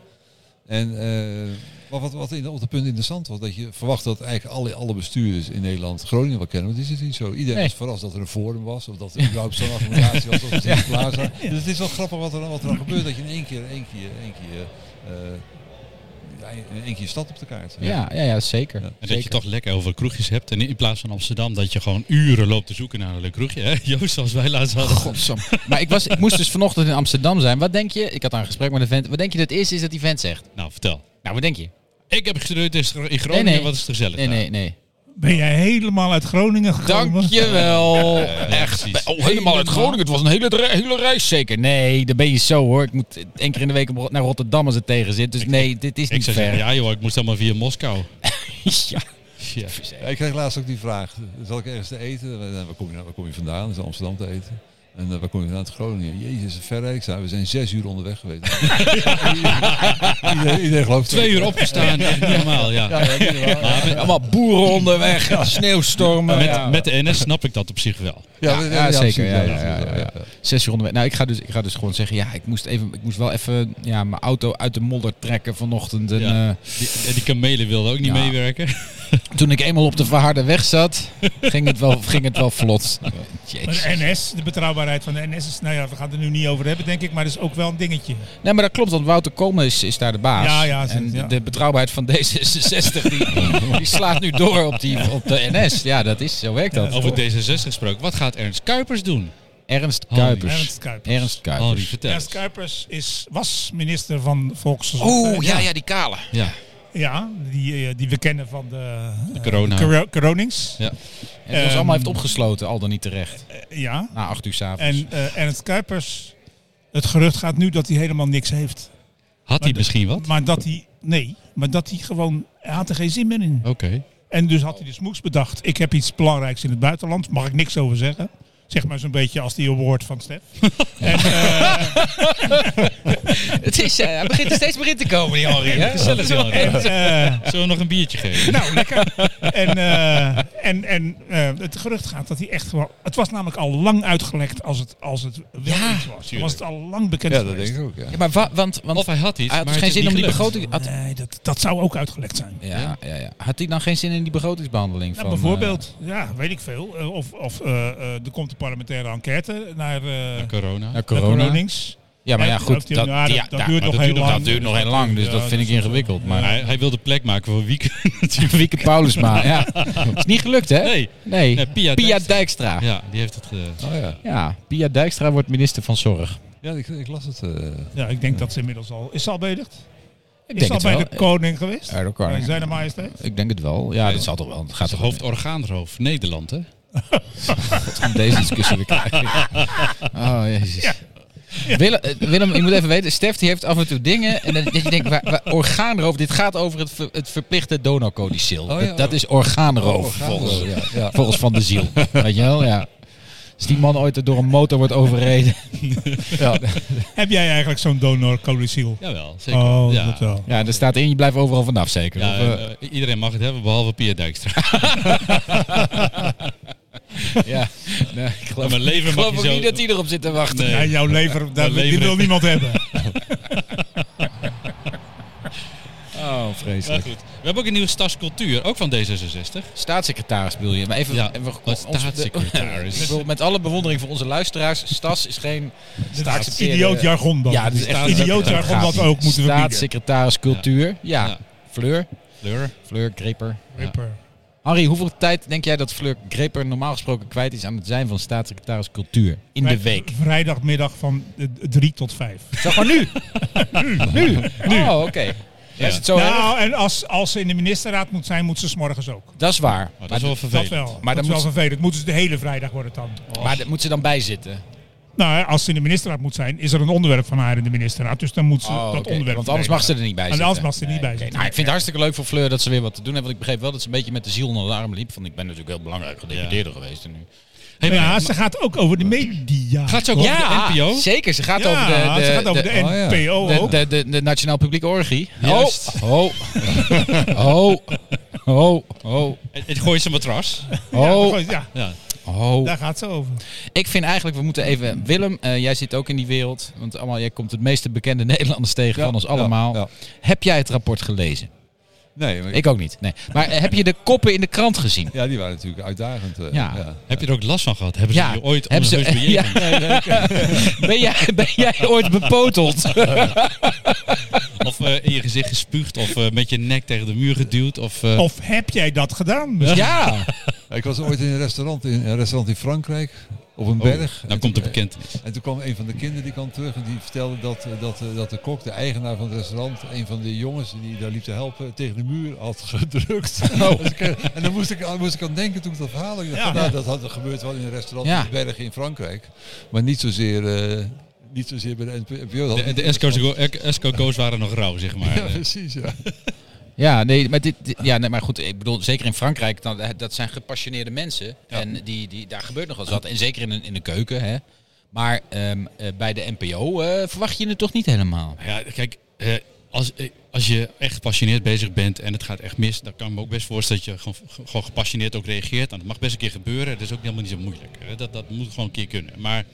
En eh, maar wat, wat in, op dat punt interessant was, dat je verwacht dat eigenlijk alle, alle bestuurders in Nederland Groningen wel kennen. Want is het niet zo. Iedereen
Nee.
was verrast dat er een forum was, of dat er überhaupt zo'n accommodatie was,
[laughs]
of het in plaza. Dus het is wel grappig wat er, dan- wat er dan gebeurt, dat je in één keer, één keer, één keer, eh, ja, in één keer je stad op de kaart zet.
Ja, ja, ja zeker.
Ja.
En dat je
Zeker.
toch lekker over kroegjes hebt. En in plaats van Amsterdam, dat je gewoon uren loopt te zoeken naar een leuk kroegje. Hè? [laughs] Joost, zoals wij laatst hadden.
Godsam. Maar ik, was, ik moest dus vanochtend in Amsterdam zijn. Wat denk je? Ik had daar een gesprek met een vent. Wat denk je dat het eerste is dat die vent zegt?
Nou, vertel.
Nou, wat denk je?
Ik heb gestudeerd in Gro- in Groningen.
Nee, nee.
Wat is het gezellig?
Nee,
daar?
nee, nee.
Ben jij helemaal uit Groningen gekomen?
Dankjewel.
ja,
Echt.
precies.
Oh, helemaal uit Groningen. Het was een hele, dre- hele reis zeker. Nee, daar ben je zo hoor. Ik moet één keer in de week op- naar Rotterdam als het tegen zit. Dus nee, dit is
Ik
niet
zou zeggen,
ver.
ja joh, ik moest allemaal via Moskou.
Ja.
Ja.
Ja, ik kreeg laatst ook die vraag. Zal ik ergens te eten? Eh, Waar kom je, nou- waar kom je vandaan? Is Amsterdam te eten? En eh, waar kom je vandaan? Uit Groningen. Jezus, een verre. Ik zei, we zijn zes uur onderweg
[laughs]
geweest. iedereen, iedereen gelooft
Twee
[laughs]
uur opgestaan, echt niet normaal. Ja. Maar met,
Allemaal boeren onderweg, sneeuwstormen. ja.
met, met de NS snap ik dat op zich wel.
Ja, ja, zeker. Ja, ja, ja, ja,
ja.
ja. Zes uur onderweg. Nou, ik ga, dus, ik ga dus gewoon zeggen, ja, ik moest, even, ik moest wel even ja, mijn auto uit de modder trekken vanochtend. En,
Ja.
eh,
Die, die kamelen wilden ook
Ja.
niet meewerken.
toen ik eenmaal op de verharde weg zat, [laughs] ging het wel, ging het wel vlot.
Maar
Jezus.
de NS, de betrouwbaarheid van de NS is, nou ja, we gaan het er nu niet over hebben, denk ik, maar dat is ook wel een dingetje.
Nee, maar dat klopt, want Wouter Koolmees is, is daar de baas.
Ja, ja, ze-
en
ja.
de betrouwbaarheid van D66 die, [laughs] die slaat nu door op, die, op de NS. Ja, dat is, zo werkt [laughs] dat.
Over D66 gesproken. Wat gaat Ernst Kuipers doen?
Ernst
Holy.
Kuipers.
Ernst
Oh,
Kuipers.
Ernst Kuipers.
Henri, vertel
Ernst
eens.
Kuipers is, was minister van Volksgezondheid.
Oeh, ja, ja, die kale.
Ja.
Ja, die, eh, die we kennen van de, eh,
corona.
coro- coronings.
Ja.
En die ons
Ehm,
allemaal heeft opgesloten, al dan niet terecht.
Eh, ja.
Na acht uur s'avonds.
En eh, Ernst Kuipers, het gerucht gaat nu dat hij helemaal niks heeft.
Had hij misschien wat?
Maar dat hij, nee, maar dat hij gewoon, hij had er geen zin meer in.
Oké.
En dus had hij de smoes bedacht, ik heb iets belangrijks in het buitenland, mag ik niks over zeggen. Zeg maar zo'n beetje als die award van Stef.
[laughs] Het is, eh, hij begint er steeds meer in te komen, die Henri. hè?
Gezellig, Henri.
Eh,
Zullen we nog een biertje geven?
Nou, lekker. En, eh, en, en eh, het gerucht gaat dat hij echt gewoon... Het was namelijk al lang uitgelekt als het, als het wel
Ja,
iets was. Dan was het al lang bekend
Ja, dat
geweest.
denk ik ook. Ja.
Ja, maar wa- want, want
Of hij had iets,
hij had
maar
dus geen
het is
zin om
niet
die
gelukt.
begroting... Had,
Nee, dat, dat zou ook uitgelekt zijn.
ja, ja, ja. had hij dan geen zin in die begrotingsbehandeling?
Nou,
van, eh,
bijvoorbeeld, ja, weet ik veel. Eh, of of eh, eh, er komt een parlementaire enquête naar, eh
Corona.
eh, naar
naar
corona?
Gronings.
Ja, maar ja,
En
goed.
ook die-
Dat,
ja, dat-
ja,
dat
ja,
duurt
maar
nog
dat
heel
duurt
lang.
Dat duurt nog heel lang, dus
Ja,
dat vind
dat
ik ingewikkeld. Maar
Hij, hij wilde plek maken voor Wieke [laughs] natuurlijk.
Wieke Paulusma, ja. [laughs] Is niet gelukt, hè?
Nee.
Nee.
Nee, Pia
Pia
Dijkstra.
Dijkstra. Ja.
Ja, die heeft het ge-
Oh, ja.
Pia Dijkstra wordt minister van Zorg.
ja, ik, ik las het. eh.
Ja, ik denk dat ze inmiddels al... Is ze al bedigd?
Ik
Is ze al
denk
bij
het
de
wel.
koning geweest?
Bij de koning.
Bij zijn majesteit?
Ik denk het wel. Ja, dat zal toch wel. Het gaat
de
toch
hoofdorgaanroof Nederland, hè?
om deze discussie weer
[laughs]
krijgen. Oh, jezus. Willem, eh, Willem, je moet even weten, Stef die heeft af en toe dingen. En dan, dat je denkt, waar, waar- orgaanroof, dit gaat over het, ver- het verplichte donorcodicil.
Oh,
ja.
dat, dat is orgaanroof, volgens,
ja, ja.
volgens Van de Ziel. Weet je wel, ja. Als die man ooit door een motor wordt
[laughs]
overreden.
ja.
Heb jij eigenlijk zo'n donor coliciel?
Jawel, zeker.
Oh,
ja.
dat wel.
Ja, er staat in, je blijft overal vanaf zeker.
Ja,
Of, eh,
en, eh, iedereen mag het hebben, behalve Pia
[laughs]
Dijkstra.
ja. Nee, ik geloof,
Maar leven
ik geloof
mag je
ook
zo-
niet dat hij erop zit te wachten.
Nee.
Ja, jouw lever, daar, die
lever-
wil
[laughs]
niemand hebben.
Oh,
Ja,
vreselijk.
goed. We hebben ook een nieuwe stadscultuur, ook van D66.
Staatssecretaris bedoel je. Maar even,
Ja,
even
wat
onze- [laughs]
staatssecretaris.
Ik bedoel, met alle bewondering voor onze luisteraars, Stas is geen
Dat is idioot jargon dan.
Ja, dat is echt
idioot jargon dat we ook moeten verbieden.
Staatssecretaris cultuur. Ja.
Ja.
Fleur.
Fleur.
Fleur Greper.
Ripper.
Harry, hoeveel tijd denk jij dat Fleur Greper normaal gesproken kwijt is aan het zijn van staatssecretaris cultuur in de
Vrij- [laughs]
week?
Vrijdagmiddag van 3 tot 5.
Zeg maar nu. nu. Nu. Oh, oké. Ja, Is het zo erg?
Nou, en als, als ze in de ministerraad moet zijn, moet ze 's morgens ook.
Dat is waar.
Oh, dat
maar
is wel
Dat
vervelend.
wel.
dan
Maar dat is wel
moet-
vervelend. Moeten ze de hele vrijdag worden dan?
maar dat moet ze dan bijzitten.
Nou, als ze in de ministerraad moet zijn, is er een onderwerp van haar in de ministerraad. Dus dan moet ze
Oh,
dat
oké.
onderwerp.
Want anders mag ze er niet bij
En
zitten.
anders mag ze er niet bij
Oké,
zitten.
nou, ik vind het hartstikke leuk voor Fleur dat ze weer wat te doen heeft. Want ik begreep wel dat ze een beetje met de ziel onder de arm liep. Want ik ben natuurlijk heel belangrijk gedeputeerde geweest. En nu.
Hey, maar-
Ja, ze gaat ook over de media.
Gaat ze ook over de NPO?
zeker. Ze gaat
Ja,
over de, de,
ze gaat over de,
oh ja.
NPO
de,
ook.
de, de, de Nationaal Publieke Orgie.
Juist.
Oh, oh, oh, oh, oh, [laughs]
Het, het gooit zijn matras.
Ja,
oh,
gewoon- ja.
Ja.
ho.
Daar gaat ze over.
Ik vind eigenlijk, we moeten even... Willem, eh, jij zit ook in die wereld. Want allemaal, jij komt het meeste bekende [laughs] Nederlanders tegen
Ja,
van ons
ja,
allemaal.
ja.
Heb jij het rapport gelezen?
Nee, maar,
Ik ook niet, nee. Maar eh, heb je de koppen in de krant gezien?
ja, die waren natuurlijk uitdagend. eh,
Ja.
Heb je er ook last van gehad? Hebben ze
Ja,
je ooit
hebben
hebben
ze-
ze, bejegend?
[laughs] Ben jij, [laughs] ben jij ooit bepoteld?
Of eh, in je gezicht gespuugd? Of eh, met je nek tegen de muur geduwd? Of,
Oh.
eh,
Of heb jij dat gedaan? Misschien-
Ja.
Ik was ooit in een restaurant in, een restaurant in Frankrijk, op een
oh,
berg.
Nou
En
komt de
toen-
bekentenis.
En toen kwam een van de kinderen die kwam terug en die vertelde dat, eh, dat, eh, dat de kok, de eigenaar van het restaurant, een van de jongens die daar liep te helpen, tegen de muur had gedrukt. Dus ik, eh, en dan moest ik, aan- moest ik aan denken toen ik dat verhaal had. Ik dacht,
Ja.
nou, dat had er gebeurd wel in een restaurant
Ja.
in de bergen in Frankrijk. Maar niet zozeer, eh, niet zozeer bij de NPO.
De, de Esco's- Esco's waren nog rauw, zeg maar.
Ja, precies. Ja.
Ja, nee, maar, dit, dit- ja, nee, maar goed, ik bedoel, zeker in Frankrijk, dan, eh, dat zijn gepassioneerde mensen. En die, die, daar gebeurt nog wel eens wat. En zeker in een, in een keuken, hè. Maar ehm, eh, bij de NPO eh, verwacht je het toch niet helemaal.
Ja, kijk, eh, als, eh, als je echt gepassioneerd bezig bent en het gaat echt mis, dan kan ik me ook best voorstellen dat je gewoon, gewoon gepassioneerd ook reageert. En dat mag best een keer gebeuren. Dat is ook helemaal niet zo moeilijk. hè. Dat, dat moet gewoon een keer kunnen. Maar,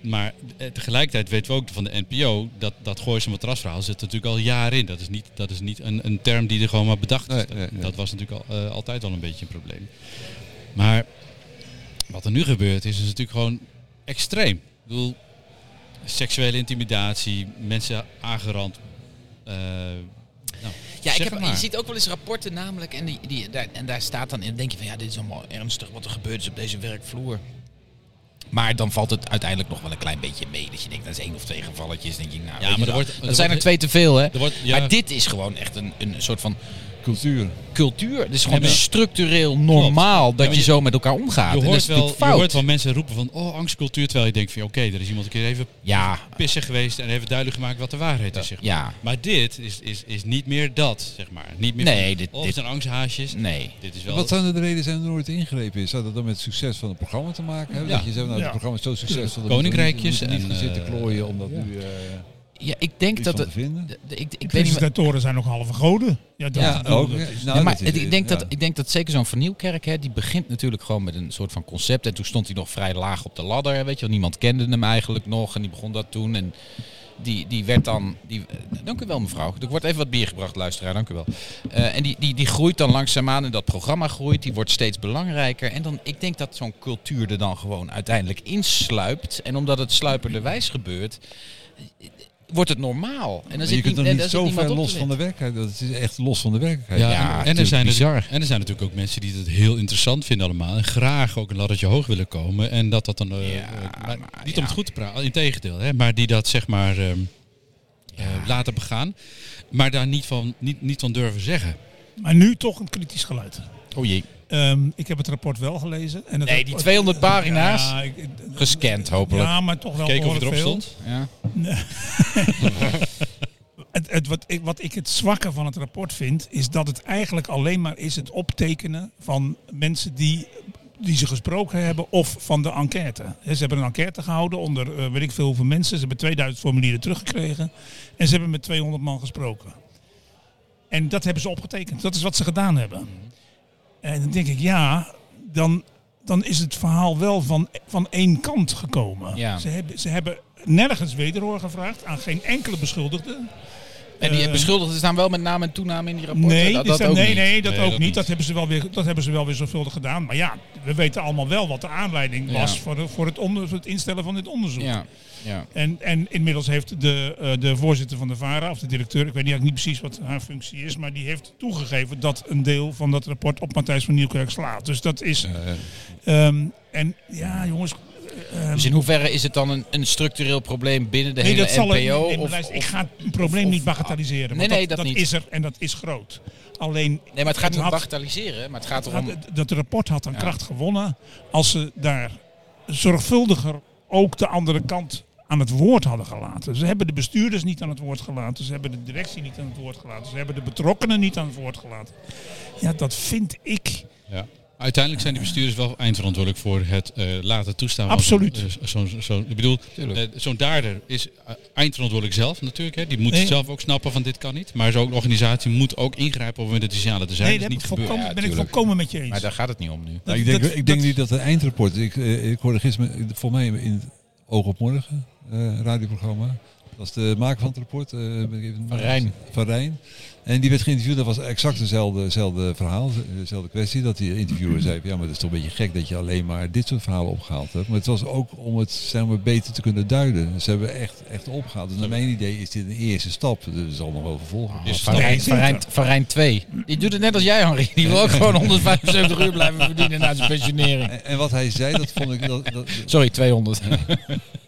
maar eh, tegelijkertijd weten we ook van de NPO dat dat Gooise matrasverhaal zit er natuurlijk al jaren in. Dat is niet, dat is niet een, een term die er gewoon maar bedacht is.
Nee,
dat,
nee, nee.
dat was natuurlijk al, eh, altijd wel een beetje een probleem. Maar wat er nu gebeurt is, is natuurlijk gewoon extreem. Ik bedoel, seksuele intimidatie, mensen aangerand. eh, nou,
Ja, ik
zeg
heb,
het maar.
je ziet ook wel eens rapporten namelijk. En, die, die, daar, en daar staat dan in, denk je van ja, dit is allemaal ernstig wat er gebeurd is op deze werkvloer. Maar dan valt het uiteindelijk nog wel een klein beetje mee. Dat je denkt, dat is één of twee gevalletjes. Dan Denk je, nou, weet
Ja, maar
je
er
wel.
wordt- er
dat zijn er
wordt-
twee te veel, hè?
er wordt- ja.
Maar dit is gewoon echt een, een soort van
Cultuur.
cultuur. Het is gewoon
maar-
structureel normaal dat
maar
je
je-
zo met elkaar omgaat.
je,
en dat
hoort
is
wel,
natuurlijk
je
fout.
hoort wel mensen roepen van, oh, angstcultuur. Terwijl je denkt van, oké, er is iemand een keer even
Ja,
pissig geweest en even duidelijk gemaakt wat de waarheid is. Zeg maar.
ja.
maar dit is, is, is niet meer dat, zeg maar. Niet meer
Nee,
van,
dit-
oh,
dit-
het zijn angsthaasjes.
Nee.
Dit is wel...
Wat zouden de redenen zijn dat er nooit ingrepen is? Zou dat dan met het succes van het programma te maken hebben?
Ja.
Dat je zegt, nou,
Ja.
het programma is zo succesvol. dat
Koninkrijkjes
we moeten niet, we moeten
en,
niet gaan
eh,
zitten klooien om dat nu eh
Ja, ik denk
iets
dat
van
het...
te vinden.
de- de- Ik, ik weet niet meer-
Presentatoren zijn nog halve goden. Ja, dat
Ja, ook.
dat
Ja,
is-
nou,
Ja, maar
dat is
het-
het.
ik, denk
Ja.
dat, ik denk dat zeker zo'n vernielkerk, hè, die begint natuurlijk gewoon met een soort van concept. En toen stond hij nog vrij laag op de ladder. Hè, weet je wel, niemand kende hem eigenlijk nog. En die begon dat toen. En die, die werd dan. Die, eh, dank u wel, mevrouw. Er wordt even wat bier gebracht, luisteraar. Dank u wel. Eh, en die, die, die groeit dan langzaamaan. En dat programma groeit. Die wordt steeds belangrijker. En dan, ik denk dat zo'n cultuur er dan gewoon uiteindelijk insluipt. En omdat het sluiperderwijs gebeurt. eh, Wordt het normaal? En dan
Maar je kunt
niet-
er
en
niet
daar zit
zo
niemand op
ver
te
los van de werkelijkheid. Dat is echt los van de werkelijkheid.
Eh, Ja,
en- en, er
natuurlijk
zijn
bizar.
en er zijn natuurlijk ook mensen die het heel interessant vinden allemaal. En graag ook een laddertje hoog willen komen. En dat dat dan... eh,
Ja,
eh,
maar
maar niet om
ja.
het goed te praten, integendeel. Hè, maar die dat zeg maar ehm, eh, laten begaan. Maar daar niet van, niet, niet van durven zeggen.
Maar nu toch een kritisch geluid.
Oh jee.
Ehm, ik heb het rapport wel gelezen. En het
Nee, die
rapport-
200 pagina's.
Ja, ik- ik-
Gescand hopelijk.
ja, maar toch wel
Kijken of het
behoorlijk
erop
veel.
stond.
Ja.
Het, het, wat, ik, wat ik het zwakke van het rapport vind, is dat het eigenlijk alleen maar is het optekenen van mensen die, die ze gesproken hebben of van de enquête. He, Ze hebben een enquête gehouden onder eh, weet ik veel hoeveel mensen. Ze hebben 2000 formulieren teruggekregen en ze hebben met 200 man gesproken. En dat hebben ze opgetekend. Dat is wat ze gedaan hebben. En dan denk ik, ja, dan, dan is het verhaal wel van, van één kant gekomen.
Ja.
Ze, hebben, ze hebben nergens wederhoor gevraagd aan geen enkele beschuldigde.
En die
Eh,
beschuldigden staan wel met naam en toename in die rapporten?
Nee,
dat,
die
dat
staan-
ook
nee,
niet.
nee, dat
Nee,
ook
dat
niet.
niet.
Dat hebben, ze wel weer, dat hebben ze wel weer zorgvuldig gedaan. Maar ja, we weten allemaal wel wat de aanleiding
Ja.
was voor, de- voor, het onder, voor het instellen van dit onderzoek.
Ja, ja.
En, en inmiddels heeft de, eh, de voorzitter van de VARA, of de directeur, ik weet eigenlijk niet precies wat haar functie is, maar die heeft toegegeven dat een deel van dat rapport op Matthijs van Nieuwkerk slaat. Dus dat is. ehm, en ja, jongens. ehm,
Dus in hoeverre is het dan een, een structureel probleem binnen de
nee,
hele
dat zal er-
NPO?
nee, maar
of,
luister,
of-
ik ga het probleem
of-
niet bagatelliseren.
Nee,
want
nee, dat niet.
is er en dat is groot. Alleen.
nee, maar het gaat niet om
had-
bagatelliseren, maar het gaat
Had-
erom...
dat rapport had aan
Ja.
kracht gewonnen als ze daar zorgvuldiger ook de andere kant aan het woord hadden gelaten. Ze hebben de bestuurders niet aan het woord gelaten. Ze hebben de directie niet aan het woord gelaten. Ze hebben de betrokkenen niet aan het woord gelaten. Ja, dat vind ik
Ja. Uiteindelijk zijn die bestuurders wel eindverantwoordelijk voor het eh, laten toestaan.
Absoluut.
Van, zo'n- eh, zo'n- zo'n- ik bedoel, eh, zo'n dader is eh, eindverantwoordelijk zelf natuurlijk. Hè. Die moet
Nee.
zelf ook snappen van dit kan niet. Maar zo'n organisatie moet ook voorgrijpen op het moment dat die signalen te zijn.
nee,
dat
daar
is
ben
niet
ik
gebeurd.
volkomen-
Ja,
ben ik
tuurlijk.
volkomen met je eens.
Maar daar gaat het niet om nu.
Dat-
Nou, ik denk,
dat-
ik denk
dat-
niet dat het eindrapport. Ik, eh, ik hoorde gisteren, eh, volgens mij in het Oog op Morgen eh, radioprogramma. Dat is de maker van het rapport. eh, ben ik even-
Van Rijn.
Van Rijn. En die werd geïnterviewd. Dat was exact dezelfde, dezelfde verhaal, eh, dezelfde kwestie. Dat die interviewer zei: Ja, maar dat is toch een beetje gek dat je alleen maar dit soort verhalen opgehaald hebt. Maar het was ook om het zeg maar, beter te kunnen duiden. Ze hebben echt, echt opgehaald. Dus naar mijn idee is dit een eerste stap. Er zal nog wel vervolgen.
Oh.
komen.
Dus
Van Rijn, van,
zeker.
Rijn, van Rijn 2. Die doet het net als jij, Henri. Die wil ook gewoon 175 uur blijven verdienen na zijn pensionering.
En, en wat hij zei, dat vond ik. Dat, dat,
Sorry, 200.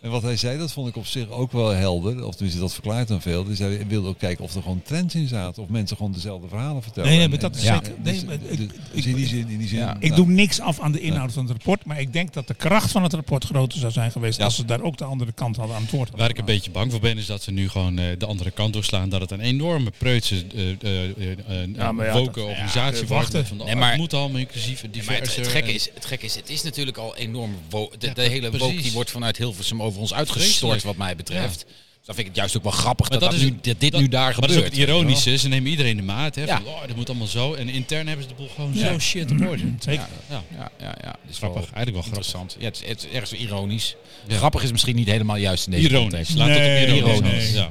En wat hij zei, dat vond ik op zich ook wel helder. Of tenminste, dat verklaart dan veel. Dus hij wilde ook kijken of er gewoon trends in zaten. Of mensen gewoon dezelfde verhalen vertellen.
Nee, nee,
En-
maar dat is
en-
zeker-
en-
nee,
dus-
maar ik-
dus-
ik-
dus in die zin... In die zin
Ja.
nou,
Ik doe niks af aan de inhoud van het rapport, maar ik denk dat de kracht van het rapport groter zou zijn geweest als ze daar ook de andere kant hadden aan het woord.
Waar ik een beetje bang voor ben is dat ze nu gewoon eh, de andere kant doorslaan. Dat het een enorme preutse, eh eh, eh, eh,
Ja, maar ja,
woke
dat-
organisatie wordt.
ja, wachten.
Van,
Nee,
oh,
maar-
het moet allemaal inclusief en
Ja, maar het,
diverser.
het, gekke
en-
is, het gekke is, het is natuurlijk al enorm... wo- de
Ja,
de hele
precies.
woke die wordt vanuit Hilversum over ons uitgestort,
Vreselijk.
wat mij betreft. Dus dan vind ik het juist ook wel grappig dat, dat,
is
nu, dat dit
dat-
nu daar
maar
gebeurt.
dat is ook het ironische. Ze nemen iedereen de maat. Hè,
Ja.
van, oh, dat moet allemaal zo. En intern hebben ze de boel gewoon
Ja.
zo Oh, shit op orde.
Zeker.
Ja,
Ja, ja, ja. Dat is
grappig.
wel
Eigenlijk wel grappig.
interessant. Ja, het, is, het is ergens wel ironisch.
Ja.
Grappig is misschien niet helemaal juist in deze
Ironisch.
context.
Laat
Nee,
het op ironisch.
nee,
houden.
nee.
Ja.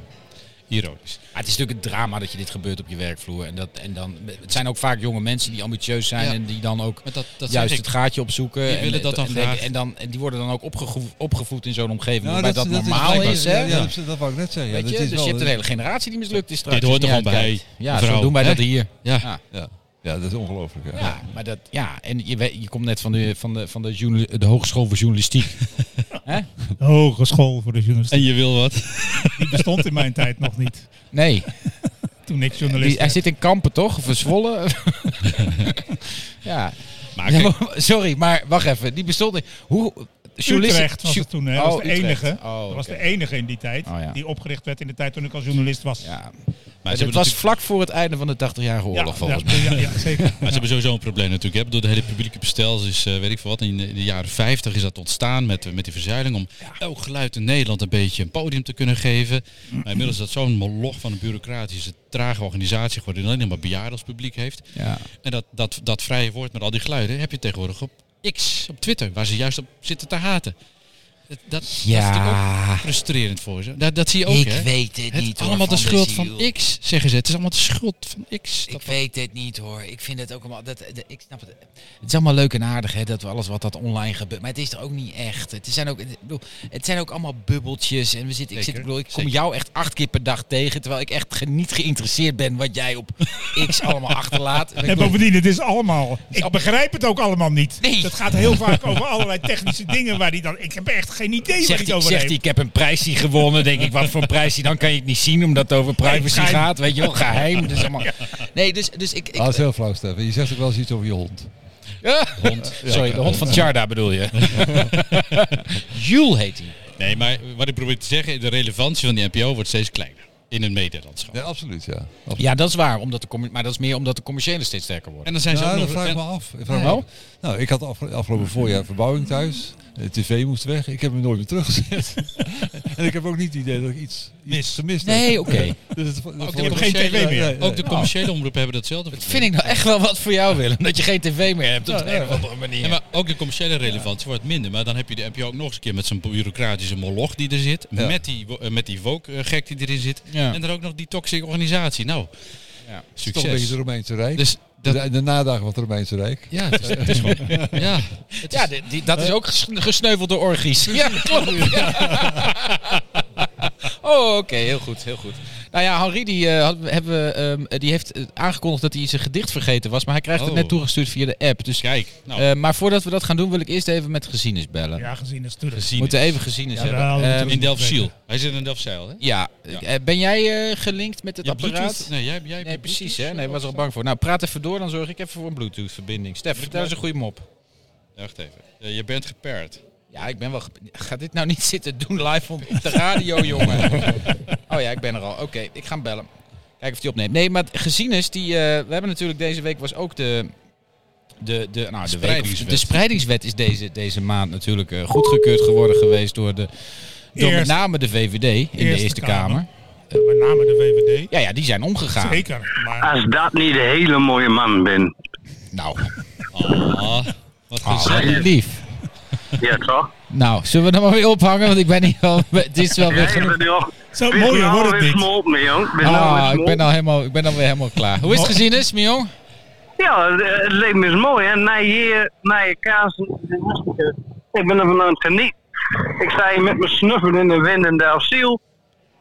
Ironisch.
Maar het is natuurlijk het drama dat je dit gebeurt op je werkvloer. En, dat, en dan, het zijn ook vaak jonge mensen die ambitieus zijn
Ja.
en die dan ook
Maar dat, dat
juist
zeg
het
ik.
gaatje opzoeken.
Die
en,
willen dat dan
en, denken-
graag.
en, dan, en die worden dan ook opgegroe- opgevoed in zo'n omgeving
nou,
waarbij dat, normaal
blijkbaar-
is. hè?
Ja, ja, dat, dat wou ik net zeggen. Ja,
Weet
dat
je,
is
dus
wel,
je hebt een hele generatie die mislukt is straks.
Dit hoort
als je
er
niet
gewoon
uitkijkt.
bij,
Ja,
mevrouw,
zo doen wij dat
hè?
hier.
Ja.
Ja.
ja. ja, dat is ongelooflijk. Ja. Ah,
Ja, maar dat, ja, en je, weet- je komt net van de, van de, van de, journal- de Hogeschool voor Journalistiek.
Hogeschool voor de journalistiek.
En je wil wat.
Die bestond in mijn tijd nog
[laughs]
niet.
Nee,
Toen ik
die,
journalist
hij
werd.
zit in Kampen toch? Of in [laughs] Zwolle? ja.
Maar
Ja,
kijk,
maar- sorry, maar wacht even. Die bestond in... Hoe, journalisten-
Utrecht was
ju-
het toen, hè?
Oh,
Dat was de
Utrecht.
enige.
Oh,
Dat was de
oké.
enige in die tijd
Oh, ja.
die opgericht werd in de tijd toen ik als journalist was.
Ja. Maar
maar ze
het was
hebben
vlak voor het einde van de 80-jarige oorlog, volgens mij.
ja, ja,
[laughs]
ja, zeker.
Maar ze hebben sowieso een probleem natuurlijk. Hè. Ik bedoel, de hele publieke bestel is, eh, weet ik veel wat, in de, in de jaren 50 is dat ontstaan met, eh, met die verzuiling. Om elk geluid in Nederland een beetje een podium te kunnen geven. Maar inmiddels is dat zo'n moloch van een bureaucratische, trage organisatie geworden. Die alleen maar bejaarden als publiek heeft.
Ja.
En dat, dat, dat vrije woord met al die geluiden heb je tegenwoordig op X, op Twitter. Waar ze juist op zitten te haten. Dat, dat, dat is natuurlijk ook frustrerend voor ze. Dat, dat zie je ook, hè.
weet het,
Het is
hoor,
allemaal de
van
schuld
ziel.
van X, zeggen ze. Het is allemaal de schuld van X.
Ik weet het niet hoor. Ik vind het ook allemaal. Dat, dat- ik snap het. Het is allemaal leuk en aardig hè, dat we alles wat dat online gebeurt. Maar het is er ook niet echt. Het zijn ook, ik bedoel, het zijn ook allemaal bubbeltjes. En we zitten, ik, zit, ik,
Zeker,
bedoel, ik kom
zeker.
jou echt acht keer per dag tegen. Terwijl ik echt ge- niet geïnteresseerd ben wat jij op X
[laughs]
allemaal achterlaat. Ik
En
bedoel,
bovendien, het is allemaal... Ik begrijp het ook allemaal niet.
Nee.
Het gaat heel vaak over allerlei technische dingen waar die dan... Ik heb echt geen idee
Zegt
waar die
hij,
het over
zegt hij,
heeft.
ik heb een prijs die gewonnen. Denk ik, wat
[laughs]
voor prijs die? Dan kan je het niet zien, omdat het over privacy
geheim.
gaat. Weet je wel,
[laughs]
geheim. Dus allemaal. Nee, dus, dus ik... ik
Ah, dat is heel flauw, Stefan. Je zegt ook wel eens iets over je hond.
hond. Sorry, de hond van Charda bedoel je. Jules heet hij.
Nee, maar wat ik probeer te zeggen, de relevantie van die NPO wordt steeds kleiner in het medialandschap.
Ja, absoluut, ja. Absoluut.
Ja, dat is waar. Omdat de commu- maar dat is meer omdat de commerciële steeds sterker worden.
En dan zijn ze
Nou,
ook
dat
nog...
vraag ik
en-
me af. Ik vraag me
Ja.
af. Nou, ik had afge- afgelopen voorjaar verbouwing thuis. De tv moest weg. Ik heb hem nooit meer teruggezet. [laughs] en ik heb ook niet het idee dat ik iets, iets gemist heb.
Nee, oké.
[laughs] Dus het, dat
Ook
vond
de
ik-
commerciële-
Nee, nee, nee.
Ook de commerciële omroepen hebben datzelfde.
Dat vind ik nou echt wel wat voor jou, Willem. Dat je geen tv meer hebt op de een of andere
Nou, Ja,
manier.
maar ook de commerciële relevantie wordt minder. Maar dan heb je de NPO ook nog eens een keer met zo'n bureaucratische moloch die er zit.
Ja.
Met die, wo- eh, met die woke-gek die erin zit.
Ja.
En dan ook nog die toxische organisatie. Nou,
Ja.
Het is toch een beetje
succes.
het Romeinse Rijk.
Dus dat...
de, de nadagen van het Romeinse Rijk.
Ja, het is, het is gewoon... Ja, het
[laughs]
is-
Ja, die- die- dat is ook ges- gesneuveld door orgies. Ja, klopt.
[laughs]
Oh, oké. heel goed, heel goed. Nou ja, Henri die, eh, had- hebben, we, ehm, die heeft eh, aangekondigd dat hij zijn gedicht vergeten was. Maar hij krijgt het
Oh.
net toegestuurd via de app. Dus,
Kijk, nou,
eh, maar voordat we dat gaan doen, wil ik eerst even met Gezienis bellen.
Ja, gezien is natuurlijk.
We
gezien
moeten
is.
even Gezienis
Ja, daar hadden we
hebben. Ehm,
het
In Delft-Ziel. Hij zit in Delft-Zeil, hè?
ja,
Ja.
Eh, ben jij eh, gelinkt met het
Ja,
apparaat?
Bluetooth? Nee, jij, jij hebt
Nee,
je
precies
Bluetooth,
hè. Nee,
eh,
was er al bang voor. Nou, praat even door, dan zorg ik even voor een Bluetooth-verbinding. Stef, vertel eens een goede mop.
Ja, Wacht even. Eh, Je bent gepaired.
Ja, ik ben wel... gep- Ga dit nou niet zitten doen live op
[laughs]
op de radio, jongen. Oh ja, ik ben er al. Oké, ik ga hem bellen. Kijken of hij opneemt. Nee, maar gezien is, die, eh, we hebben natuurlijk deze week was ook de... de, de, nou, de, week,
Spreidingswet.
de spreidingswet is deze, deze maand natuurlijk eh, goedgekeurd geworden geweest door, de, door met
Eerst-
name de VVD in de
Eerste
Eerste Kamer.
Kamer. Met name de VVD.
Ja, ja, die zijn omgegaan.
Zeker. Maar
Als dat niet een hele mooie man ben.
Nou,
[laughs] Ah,
wat
wat gezellig.
lief.
Ja, toch?
Nou, zullen we dan maar weer ophangen? Want ik ben niet wel. [laughs] Het is wel weer genoeg.
zo mooier wordt het niet.
Smolten, jong. Ben
Ah, ik ben al helemaal, ik ben alweer helemaal klaar. Hoe is het gezien, is, Mion?
Ja, eh, het leek me eens mooi, hè. Na hier, na je kaas. Ik ben ervan aan het genieten. Ik sta hier met mijn snuffel in de wind en de asiel.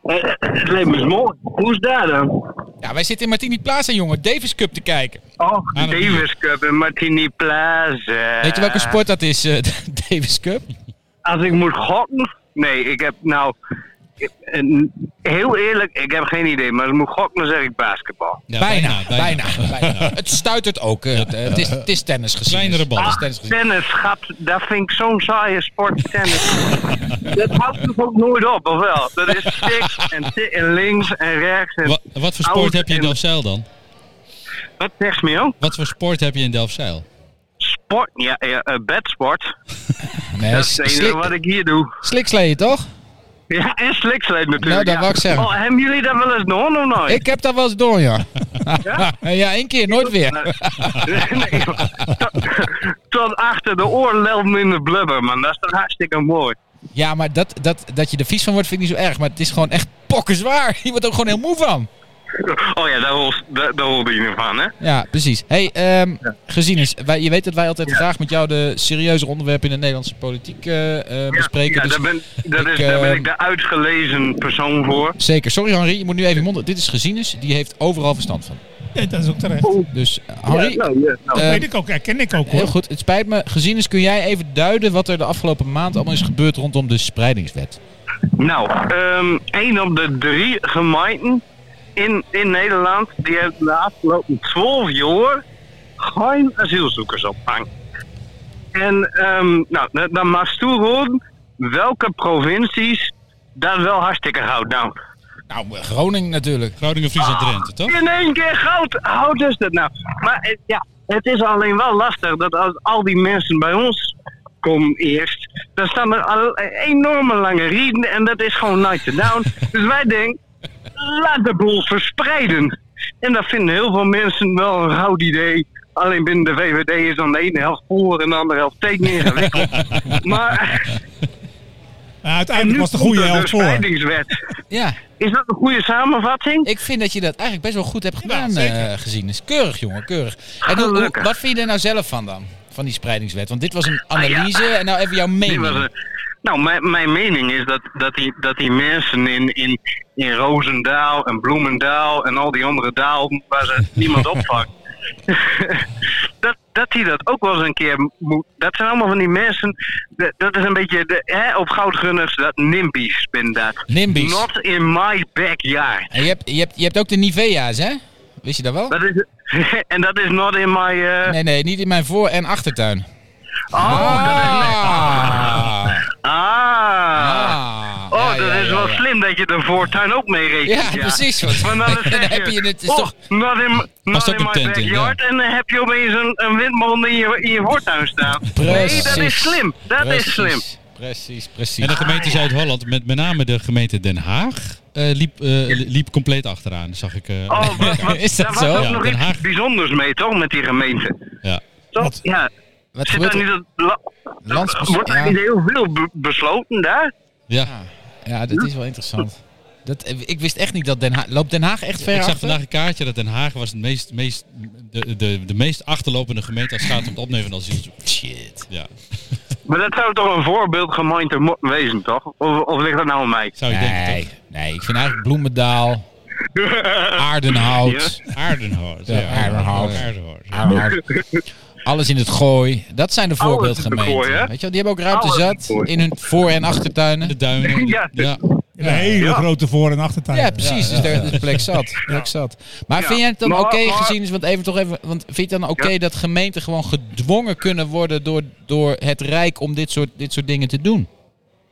Eh, eh, Het leek me eens mooi. Hoe is dat dan?
Ja, wij zitten in Martini Plaza, jongen. Davis Cup te kijken.
Oh,
Aan het
Davis Cup en Martini Plaza.
Weet je welke sport dat is, eh, [laughs] Davis Cup?
Als ik moet gokken? Nee, ik heb nou... ik- een- Heel eerlijk, ik heb geen idee. Maar als ik moet gokken, dan zeg ik basketbal.
Ja,
bijna, bijna,
bijna.
bijna. Het stuitert ook. eh, het, eh, het, is, het is tennis gezien.
Kleinere bal.
Het is
Ah,
tennis gezien.
tennis, gat, dat vind ik zo'n saaie sport, tennis. [laughs] dat houdt toch ook nooit op, of wel? Dat is tik en, tik en links en rechts. En...
Wat, wat voor sport
Oud
heb je in
en-
Delfzijl dan?
Wat zegt me, joh?
Wat voor sport heb je in Delfzijl?
Sport? Ja, ja eh, bedsport.
Nee,
Ah, Dat is het enige wat ik hier doe.
Slikslee, toch?
Ja, en sliksleed natuurlijk.
Nou, dat
ja.
wou ik zeggen.
Oh, hebben jullie dat wel eens door of nooit?
Ik heb dat wel eens door, ja.
Ja?
[laughs] ja, één keer, nooit weer.
Nee, [laughs] joh. Tot- Tot achter de oorlelm in de blubber, man. Dat is toch hartstikke mooi.
Ja, maar dat, dat, dat je er vies van wordt vind ik niet zo erg. Maar het is gewoon echt pokkenzwaar. Je wordt er ook gewoon heel moe van.
Oh ja, daar hoort- daar daar hoorde je nu van, hè?
Ja, precies. Hey, ehm gezien is, wij, je weet dat wij altijd graag met jou de serieuze onderwerpen in de Nederlandse politiek eh, eh, bespreken.
Ja,
dus
daar ben, dat
ik,
is, daar ben
eh,
ik de uitgelezen persoon voor.
Zeker. Sorry, Henri, je moet nu even je mond. Dit is Gezienis, die heeft overal verstand van.
Ja, dat is ook terecht.
Dus eh, Henri,
Ja, nou, ja, nou.
eh,
Weet ik ook, herken ik ook
heel
hoor.
goed. Het spijt me. Gezienis, kun jij even duiden wat er de afgelopen maand allemaal is gebeurd rondom de spreidingswet?
Nou, ehm, één op de drie gemeenten in, in Nederland... die hebben de afgelopen twaalf jaar geen asielzoekers opvang. En ehm, nou, da- dan mag stoer worden welke provincies dat wel hartstikke houdt. Nou,
Nou, eh, Groningen natuurlijk.
Groningen, Friesland,
Ah.
Drenthe, toch?
in één keer goud. Houd is dat nou. Maar eh, ja, het is alleen wel lastig dat als al die mensen bij ons komen eerst, dan staan er al enorme lange rieden en dat is gewoon night to
[laughs]
down. dus wij denken, laat de boel verspreiden. En dat vinden heel veel mensen wel een goud idee. Alleen binnen de VVD is dan de ene helft voor en de andere helft tegen ingewikkeld.
[laughs]
maar
Maar uiteindelijk
nu
was de goede
komt er
helft
dus de
voor.
spreidingswet.
Ja,
Is dat een goede samenvatting?
ik vind dat je dat eigenlijk best wel goed hebt gedaan,
zeker.
eh, Gezienis. Keurig, jongen, keurig. En hoe- hoe-
Gelukkig.
wat vind je er nou zelf van dan? Van die spreidingswet? Want dit was een analyse en nou even jouw mening.
Die Ah, was een- nou, mijn, mijn mening is dat, dat, die, dat die mensen in, in, in Roosendaal en Bloemendaal en al die andere daal waar
[laughs]
ze niemand opvangt. [laughs] dat, dat die dat ook wel eens een keer moet. Dat zijn allemaal van die mensen. Dat, dat is een beetje de, hè, op goudgunners, dat nimbies ben dat.
Nimbies.
Not in my backyard.
En je hebt, je, hebt, je hebt ook de Nivea's, hè? Wist je dat wel?
Dat is, [laughs] en dat is not in my. eh,
Nee, nee, niet in mijn voor- en achtertuin.
Oh, dat is.
Ah.
Ah.
Ah.
Oh,
Ja,
dat
ja,
is
ja,
wel
ja.
slim dat je de voortuin ook mee rekent.
Ja, precies. Want
Want
[laughs]
dan,
dan
zeg
heb je het. is
oh,
toch,
not in, not
ook
in
een
my
tent in,
backyard. En dan heb je opeens een, een windmolen in je, in je voortuin staan. Nee, dat is
Precies.
slim. Dat
Precies,
is slim.
Precies, precies.
En de
Ah,
gemeente Zuid-Holland, met, met name de gemeente Den Haag, eh, liep, eh, liep compleet achteraan, zag ik. eh,
Oh, wat, wat,
[laughs] Is dat
daar was
zo?
ook
Ja,
nog
Den Haag.
iets bijzonders mee, toch, met die gemeente?
[laughs] ja.
Toch? Ja.
Wat
Zit daar
gebeurt
niet
er?
dat... la- eh,
Landsbes-
Wordt
ja.
er niet heel veel be- besloten daar?
Ah.
Ja.
Ja, dat is wel interessant. Dat, eh, ik wist echt niet dat Den Haag... Loopt Den Haag echt ver
Ik zag
achter?
vandaag een kaartje dat Den Haag was het meest, meest, de, de, de meest achterlopende gemeente als het gaat om het opnemen van asielzoekers.
Shit.
Ja,
Maar dat zou toch een voorbeeldgemeente mo- wezen, toch? Of, of ligt dat nou aan mij?
Oh,
zou je denken
Nee,
toch?
nee, ik vind eigenlijk Bloemendaal,
[laughs]
Aardenhout...
Aardenhout.
Ja, Aardenhout.
Aardenhout.
Ah.
Aardenhout. Alles in het gooi. Dat zijn de
Alles in het
voorbeeldgemeenten.
gooi, hè?
Weet je wel, die hebben ook ruimte
Alles in het
zat
gooi.
in hun voor- en achtertuinen.
De duinen.
[laughs] Ja.
Een hele
Ja.
grote voor- en achtertuin.
Ja, precies. Dus daar is plek zat. Plek zat. Maar
Ja.
vind jij het dan
Maar-
oké
maar-
gezien is, want even toch even, want vind je het dan oké
Ja.
dat gemeenten gewoon gedwongen kunnen worden door, door het Rijk om dit soort, dit soort dingen te doen?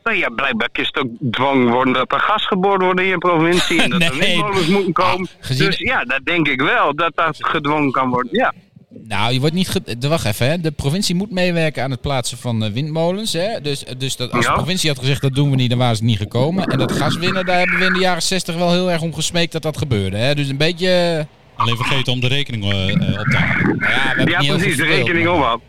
Nou ja, blijkbaar is het ook dwang worden dat er gas geboord wordt in je
[laughs]
provincie. En dat er
Nee.
windmolens moeten komen.
Ah, gezien-
Dus ja, dat denk ik wel, dat dat gedwongen kan worden. Ja.
Nou, je wordt niet. ge- de- Wacht even, hè. De provincie moet meewerken aan het plaatsen van eh, windmolens. Hè. Dus, dus dat, als de
Ja.
provincie had gezegd dat doen we niet, dan waren ze niet gekomen. En dat gaswinnen, daar hebben we in de jaren 60 wel heel erg om gesmeekt dat dat gebeurde. Hè. Dus een beetje. eh,
Alleen vergeten om de rekening eh, eh, op te halen.
nou ja, we hebben
Ja,
niet heel
precies, de
veel verdeeld,
rekening
maar-
op had.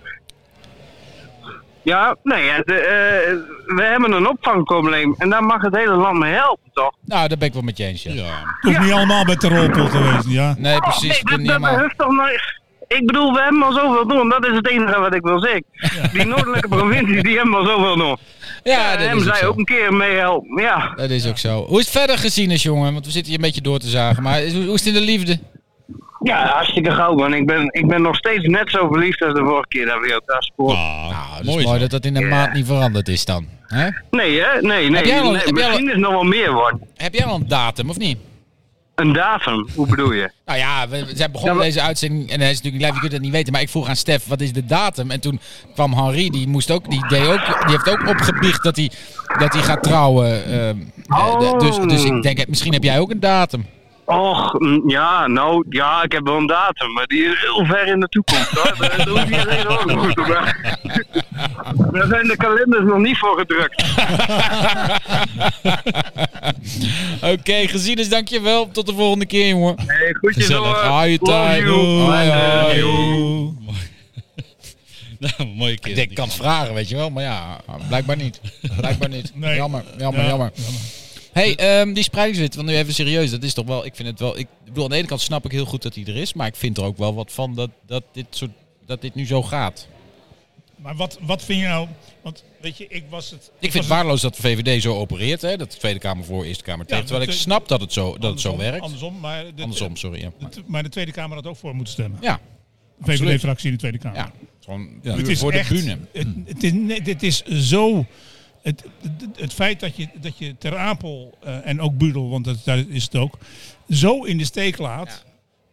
Ja, nee, ja, de, eh, we hebben een opvangprobleem en daar mag het hele land mee helpen, toch?
Nou, daar ben ik wel met je eens. Ja.
Ja.
Toch niet allemaal bij de rolpot te wezen, ja.
Nee, precies.
Oh, Nee,
ik ben
dat,
niet
dat
helemaal-
behoeft toch nou- Ik bedoel, we hebben al zoveel doen, dat is het enige wat ik wil zeggen. Die noordelijke provincies, die hebben al zoveel doen.
Ja, dat
hem
is ook
zij
zo.
ook een keer mee helpen, ja.
Dat is ook zo. Hoe is het verder gezien is, jongen? Want we zitten hier een beetje door te zagen. Maar is- hoe hoe is het in de liefde?
Ja, hartstikke gauw, man. Ik ben, ik ben nog steeds net zo verliefd als de vorige keer dat we op dat spoor.
Ah,
Nou, dat is
mooi.
mooi,
zo.
dat dat in een maand niet veranderd is dan. Hè?
Nee, hè? Nee, nee.
Heb jij al-
nee,
heb jij al-
misschien is het nog wel meer wordt.
Heb jij al een datum, of niet?
Een datum, hoe bedoel je?
Nou ja, we, we zijn begonnen
Ja, maar-
deze uitzending en hij is natuurlijk niet live, je kunt het niet weten. Maar ik vroeg aan Stef, wat is de datum? En toen kwam Henri, die moest ook, die deed ook, die heeft ook opgebiecht dat hij, dat hij gaat trouwen. ehm, eh, de- dus, dus ik denk, eh, misschien heb jij ook een datum.
Och, mm, ja, nou, ja, ik heb wel een datum, maar die is heel ver in de toekomst. Hoor. Daar daar hoef je geen zorgen over te
[laughs]
maken. Daar zijn de kalenders nog niet voor gedrukt.
Oké, gezien is dankjewel. Tot de volgende keer, jongen.
Hey, goedjes
Gezellig.
hoor.
Hoi,
Love
Tijn.
you.
Hoi, hoi.
[laughs] Nou, mooie
Ik
keer.
denk, ik kan het vragen, weet je wel. Maar ja, blijkbaar niet. Blijkbaar niet.
Nee.
Jammer, jammer,
Ja,
jammer. hey, ehm, die spreidingswet, want nu even serieus, dat is toch wel, ik vind het wel, ik bedoel, aan de ene kant snap ik heel goed dat die er is, maar ik vind er ook wel wat van dat, dat, dit, soort, dat dit nu zo gaat.
Maar wat, wat vind je nou... Want weet je, ik was het...
Ik vind het waardeloos dat de VVD zo opereert, hè? dat de Tweede Kamer voor, Eerste Kamer tegen.
Ja,
terwijl ik
dat-
snap dat het zo, dat het zo
andersom-
werkt. Andersom,
Andersom, maar de,
sorry. Ja,
de- maar de Tweede Kamer had ook voor moeten stemmen.
ja, absoluut.
VVD-fractie in de Tweede Kamer.
ja. Gewoon
Ja.
puur
Het is
voor
echt-
de bühne. Hm.
Het, het is, nee, dit is zo. Het, het, het feit dat je, dat je Ter Apel eh, en ook Budel, want dat, daar is het ook, zo in de steek laat.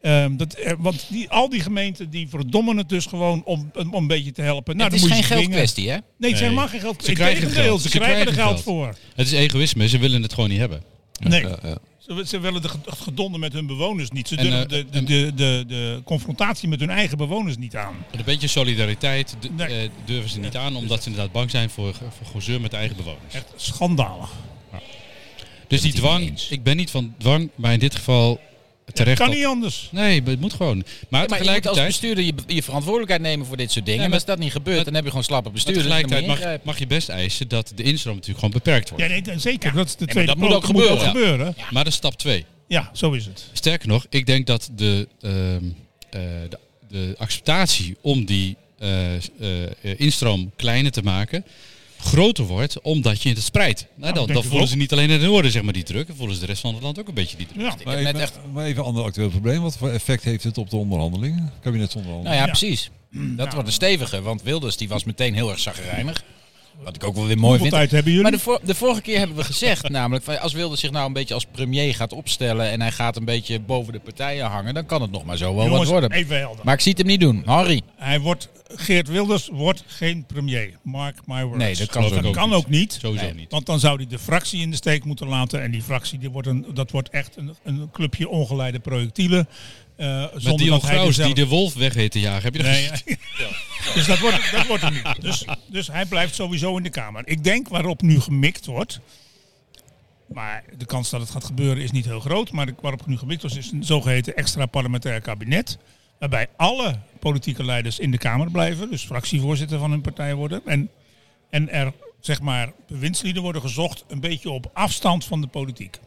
Ehm, dat, er- want die, al die gemeenten die verdommen het dus gewoon om, om een beetje te helpen. Nou,
het is
dan moet
geen
je ze dwingen.
geldkwestie, hè?
Nee, het
Nee.
zijn helemaal geen geld.
Ze krijgen het
Integendeel,
geld.
Ze
Ze
krijgen er
krijgen
geld
het
voor.
Het is egoïsme, ze willen het gewoon niet hebben.
Nee.
Ja, ja.
Ze, ze willen de ge- het gedonde met hun bewoners niet. Ze
En,
durven
eh,
de, de,
en-
de, de, de confrontatie met hun eigen bewoners niet aan.
Een beetje solidariteit d-
Nee.
eh, durven ze niet aan, omdat ze inderdaad bang zijn voor, voor gezeur met de eigen bewoners.
Echt schandalig.
Dus die
het niet mee
dwang,
eens.
ik ben niet van dwang, maar in dit geval terecht.
Kan
op-
niet anders.
Nee, maar het moet gewoon. Maar,
Ja, maar je moet als
tegelijkertijd,
bestuurder je, je verantwoordelijkheid nemen voor dit soort dingen.
Ja,
En
maar-
als dat niet gebeurt,
maar-
dan heb je gewoon slappe
maar
bestuurders. en dan moet je
tegelijkertijd mag,
ingrijpen.
mag je best eisen dat de instroom natuurlijk gewoon beperkt wordt.
Ja, nee, d- zeker. dat is de tweede
dat moet
poot.
ook
gebeuren, ja.
gebeuren. Ja.
Maar dat is stap 2.
zo is het.
Sterker nog, ik denk dat de, ehm, eh, de, de acceptatie om die eh, s- eh, eh, instroom kleiner te maken groter wordt omdat je het spreidt. Nou, dan,
denk
dan
ik
voelen
ook.
ze niet alleen in het noorden zeg maar, die druk, dan voelen ze de rest van het land ook een beetje die druk.
Ja.
heb
Maar
net
even,
echt-
maar even een ander actueel probleem. Wat voor effect heeft het op de onderhandelingen? Kabinetsonderhandelingen?
Nou ja,
Ja.
precies. Dat wordt een stevige, want Wilders die was meteen heel erg zagrijnig. Wat ik ook wel weer mooi
Hoeveel
vind.
tijd hebben jullie?
Maar de, vor- de vorige keer hebben we gezegd [laughs] namelijk, van, als Wilders zich nou een beetje als premier gaat opstellen en hij gaat een beetje boven de partijen hangen, dan kan het nog maar zo wel
Jongens,
wat worden.
even helder.
Maar ik zie het hem niet doen. Harry.
Hij wordt, Geert Wilders wordt geen premier. Mark my words.
Nee, dat kan
Geloof
ook
ik
Dat
niet.
kan ook niet.
Sowieso
Nee.
niet.
Want dan zou hij de fractie in de steek moeten laten. En die fractie, die wordt een, dat wordt echt een, een clubje ongeleide projectielen. eh,
Met
zonder
Dion
dat hij er
Graus
zelf-
die de wolf weg weet te jagen. Heb je dat
Nee,
gezien?
Dus dat wordt, dat wordt hem niet. Dus, dus hij blijft sowieso in de Kamer. Ik denk waarop nu gemikt wordt. Maar de kans dat het gaat gebeuren is niet heel groot. Maar de- waarop nu gemikt wordt is een zogeheten extra parlementair kabinet. Waarbij alle politieke leiders in de Kamer blijven. Dus fractievoorzitter van hun partij worden. En, en er zeg maar bewindslieden worden gezocht. Een beetje op afstand van de politiek.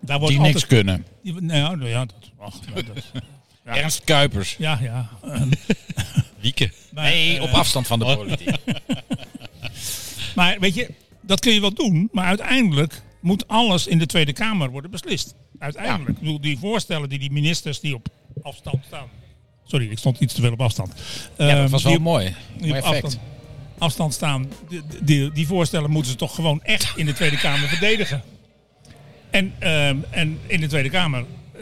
Daar wordt
Die
altijd,
niks kunnen.
die- nou, nou ja, dat, ach, nou,
[laughs]
dat-
Ernst Kuipers.
ja, ja.
Wieken.
Maar,
Nee,
eh,
op afstand van de
Oh.
politiek.
Maar weet je, dat kun je wel doen. Maar uiteindelijk moet alles in de Tweede Kamer worden beslist. Uiteindelijk. Ik bedoel, die voorstellen die die ministers die op afstand staan. Sorry, ik stond iets te veel op afstand. Ehm,
Ja, dat was wel
die op-
mooi.
die
Mooi
op
effect.
afstand, afstand staan. Die, die, die voorstellen moeten ze toch gewoon echt in de Tweede Kamer verdedigen. En, ehm, en in de Tweede Kamer eh,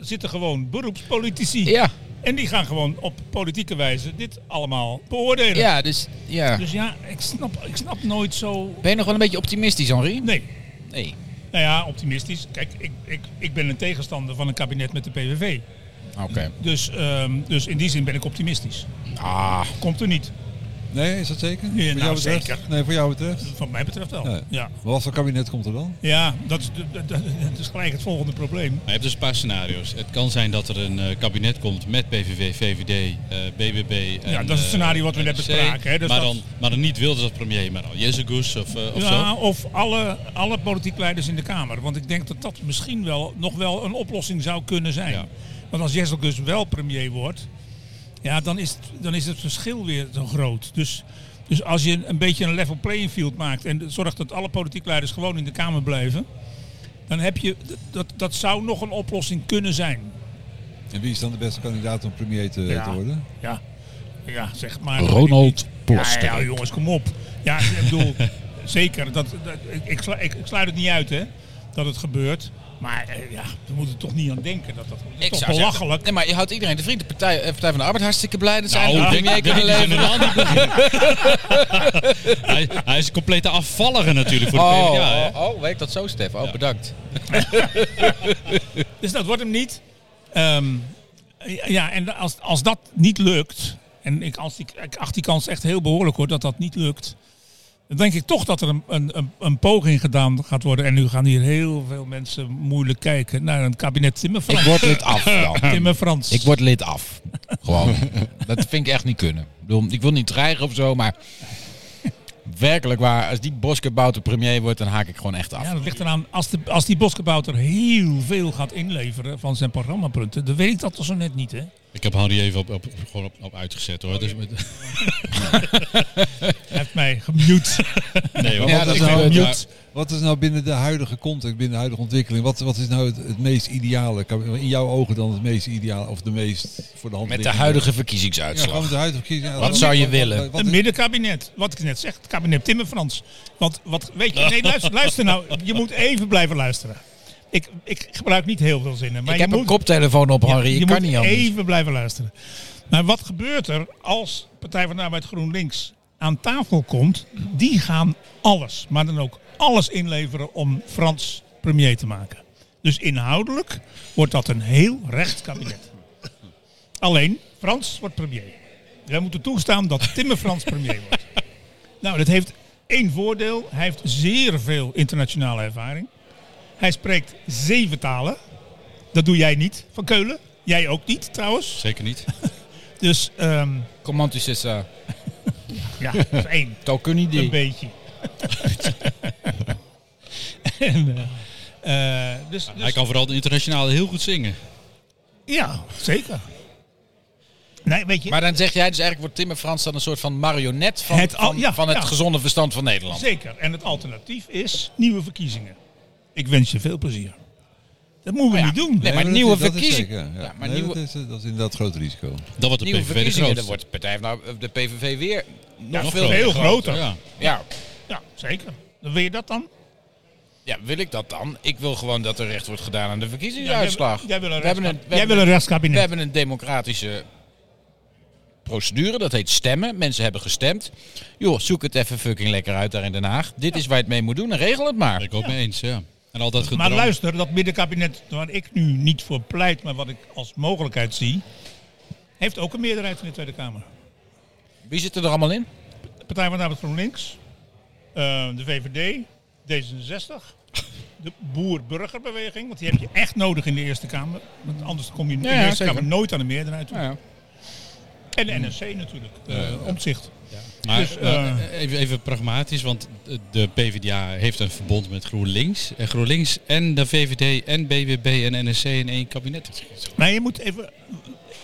zitten gewoon beroepspolitici.
Ja,
En die gaan gewoon op politieke wijze dit allemaal beoordelen.
ja, dus ja.
Dus ja, ik snap, ik snap nooit zo.
Ben je nog wel een beetje optimistisch, Henri?
Nee.
Nee.
Nou ja, optimistisch. Kijk, ik, ik, ik ben een tegenstander van een kabinet met de PVV.
Oké.
Dus, ehm, dus in die zin ben ik optimistisch.
Ah,
Komt er niet,
Nee, is dat zeker?
Ja,
Voor
nou,
jou betreft?
zeker.
Nee, voor jou betreft.
wat mij betreft wel.
Nee.
Ja,
Maar wat voor kabinet komt er dan?
ja dat, is, dat- dat- dat is gelijk het volgende probleem.
Maar je hebt dus een paar scenario's. Het kan zijn dat er een eh, kabinet komt met PVV, VVD, eh, BBB. En,
Ja, dat is het
eh,
scenario wat we net
NSC.
bespraken, hè. Dus
maar,
dat-
dan, maar dan niet Wilders als premier, maar dan Jezegoes of, eh, of
ja,
zo.
of alle, alle politiek leiders in de Kamer. Want ik denk dat dat misschien wel nog wel een oplossing zou kunnen zijn.
Ja.
Want als Jessel Gus wel premier wordt, ja, dan, is het, dan is het verschil weer zo groot. Dus, dus als je een beetje een level playing field maakt en zorgt dat alle politiek leiders gewoon in de Kamer blijven, dan heb je, dat- dat, dat zou nog een oplossing kunnen zijn.
En wie is dan de beste kandidaat om premier te,
Ja.
te worden?
Ja, ja zeg maar.
Ronald
Plaster. Ja,
Plasterk.
ja, jongens, kom op. Ja, ik bedoel, [laughs] zeker. Dat, dat, ik- ik, slu- ik, ik sluit het niet uit, hè, dat het gebeurt. Maar eh, ja, we moeten er toch niet aan denken. Dat, dat, dat is toch
zeggen-
belachelijk.
nee, maar je houdt iedereen de vriend. De Partij, eh, Partij van de Arbeid hartstikke blij dat ze
Nou,
eindelijk
denk-
premier
denk
kunnen
dat je
leveren.
een ander begint. hij, hij is een complete afvallige natuurlijk voor de
Oh,
PvdA. hè.
oh, oh, weet dat zo, Stef? Oh, bedankt.
Dus dat wordt hem niet. Ehm, ja, en als, als dat niet lukt... en ik, als die, ik acht die kans echt heel behoorlijk hoor, dat dat niet lukt... dan denk ik toch dat er een, een, een, een poging gedaan gaat worden. En nu gaan hier heel veel mensen moeilijk kijken naar een kabinet Timmerfrans.
Ik word lid af dan.
Timmerfrans.
Ik word lid af. Gewoon. Dat vind ik echt niet kunnen. Ik, bedoel, ik wil niet dreigen of zo, maar... Werkelijk waar, als die Boskebouter premier wordt, dan haak ik gewoon echt af.
Ja, dat ligt eraan. Als, de, als die Boskabouter heel veel gaat inleveren van zijn programmapunten, dan weet ik dat toch zo net niet, hè?
Ik heb Harry even op, op, gewoon op, op uitgezet hoor. Dus met,
Hij heeft mij
[laughs]
gemute.
nee, hoor.
Ja,
Want
dat
ik
is
denk-
wel-
maar-
Wat is nou binnen de huidige context, binnen de huidige ontwikkeling, wat, wat is nou het, het meest ideale? kab- In jouw ogen dan het meest ideale of de meest voor de hand
Met de
liggende?
huidige
Ja,
verkiezingsuitslag.
gewoon met de huidige verkiezingen. Ja,
Wat zou je willen?
wat- wat-
Een middenkabinet. Wat ik net zeg, het kabinet Timmerfrans. Want wat, weet je, nee, luister, luister nou. Je moet even blijven luisteren. Ik, ik gebruik niet heel veel zinnen. Maar
ik
je
heb
moet,
een koptelefoon op, Harry.
je
ik kan
moet
niet anders.
even blijven luisteren. Maar wat gebeurt er als Partij van de Arbeid GroenLinks aan tafel komt? Die gaan alles, maar dan ook alles inleveren om Frans premier te maken. Dus inhoudelijk wordt dat een heel recht kabinet. Alleen, Frans wordt premier. Wij moeten toestaan dat Timmer Frans premier wordt. Nou, dat heeft één voordeel. Hij heeft zeer veel internationale ervaring. Hij spreekt zeven talen. Dat doe jij niet, Van Keulen. Jij ook niet, trouwens.
Zeker niet.
Dus ehm,
Command is dus, eh,
ja, dat is één.
token idee.
Een beetje. [laughs] en, eh, eh, dus,
Hij
dus,
kan vooral de internationale heel goed zingen.
ja, zeker. Nee, weet je,
Maar dan zeg jij dus eigenlijk wordt Timmer Frans dan een soort van marionet van
Het
het,
al-
van,
ja,
van het
ja.
gezonde verstand van Nederland.
zeker. En het alternatief is nieuwe verkiezingen. Ik wens je veel plezier. Dat moeten we
Nou ja.
niet doen.
Nee, maar
dat
nieuwe
is- dat is
verkiezing-
zeker, ja.
Ja, maar
Nee,
nieuwe-
dat, is, dat is inderdaad een groot risico.
Dan wordt de
Nieuwe
PVV de
verkiezingen, dan
grootste.
wordt de partij van nou, de PVV weer nog
Nog
veel
veel groter.
Ja.
Ja.
Ja, zeker. Dan wil je dat dan?
ja, wil ik dat dan? Ik wil gewoon dat er recht wordt gedaan aan de verkiezingsuitslag.
Jij wil een
we hebben een,
rechtskab-
we
jij wil
hebben,
een
we
rechtskabinet.
hebben een democratische procedure, dat heet stemmen. Mensen hebben gestemd. Joh, zoek het even fucking lekker uit daar in Den Haag. Dit is waar je het mee moet doen en regel het maar.
Ik ook mee eens, ja. En al dat
Maar
gedrang.
luister, dat middenkabinet waar ik nu niet voor pleit, maar wat ik als mogelijkheid zie, heeft ook een meerderheid in de Tweede Kamer.
Wie zit er er allemaal in?
Partij van de Arbeid GroenLinks, eh, de VVD, D66, de Boer-Burgerbeweging, want die heb je echt nodig in de Eerste Kamer. Want anders kom je in de
Ja, ja,
Eerste
zeker.
Kamer nooit aan de meerderheid toe.
Nou ja.
En de NSC natuurlijk, eh omzicht.
Maar
Dus,
eh,
eh,
even, even pragmatisch, want de PvdA heeft een verbond met GroenLinks. En GroenLinks en de VVD en BBB en NSC in één kabinet.
Maar je moet even.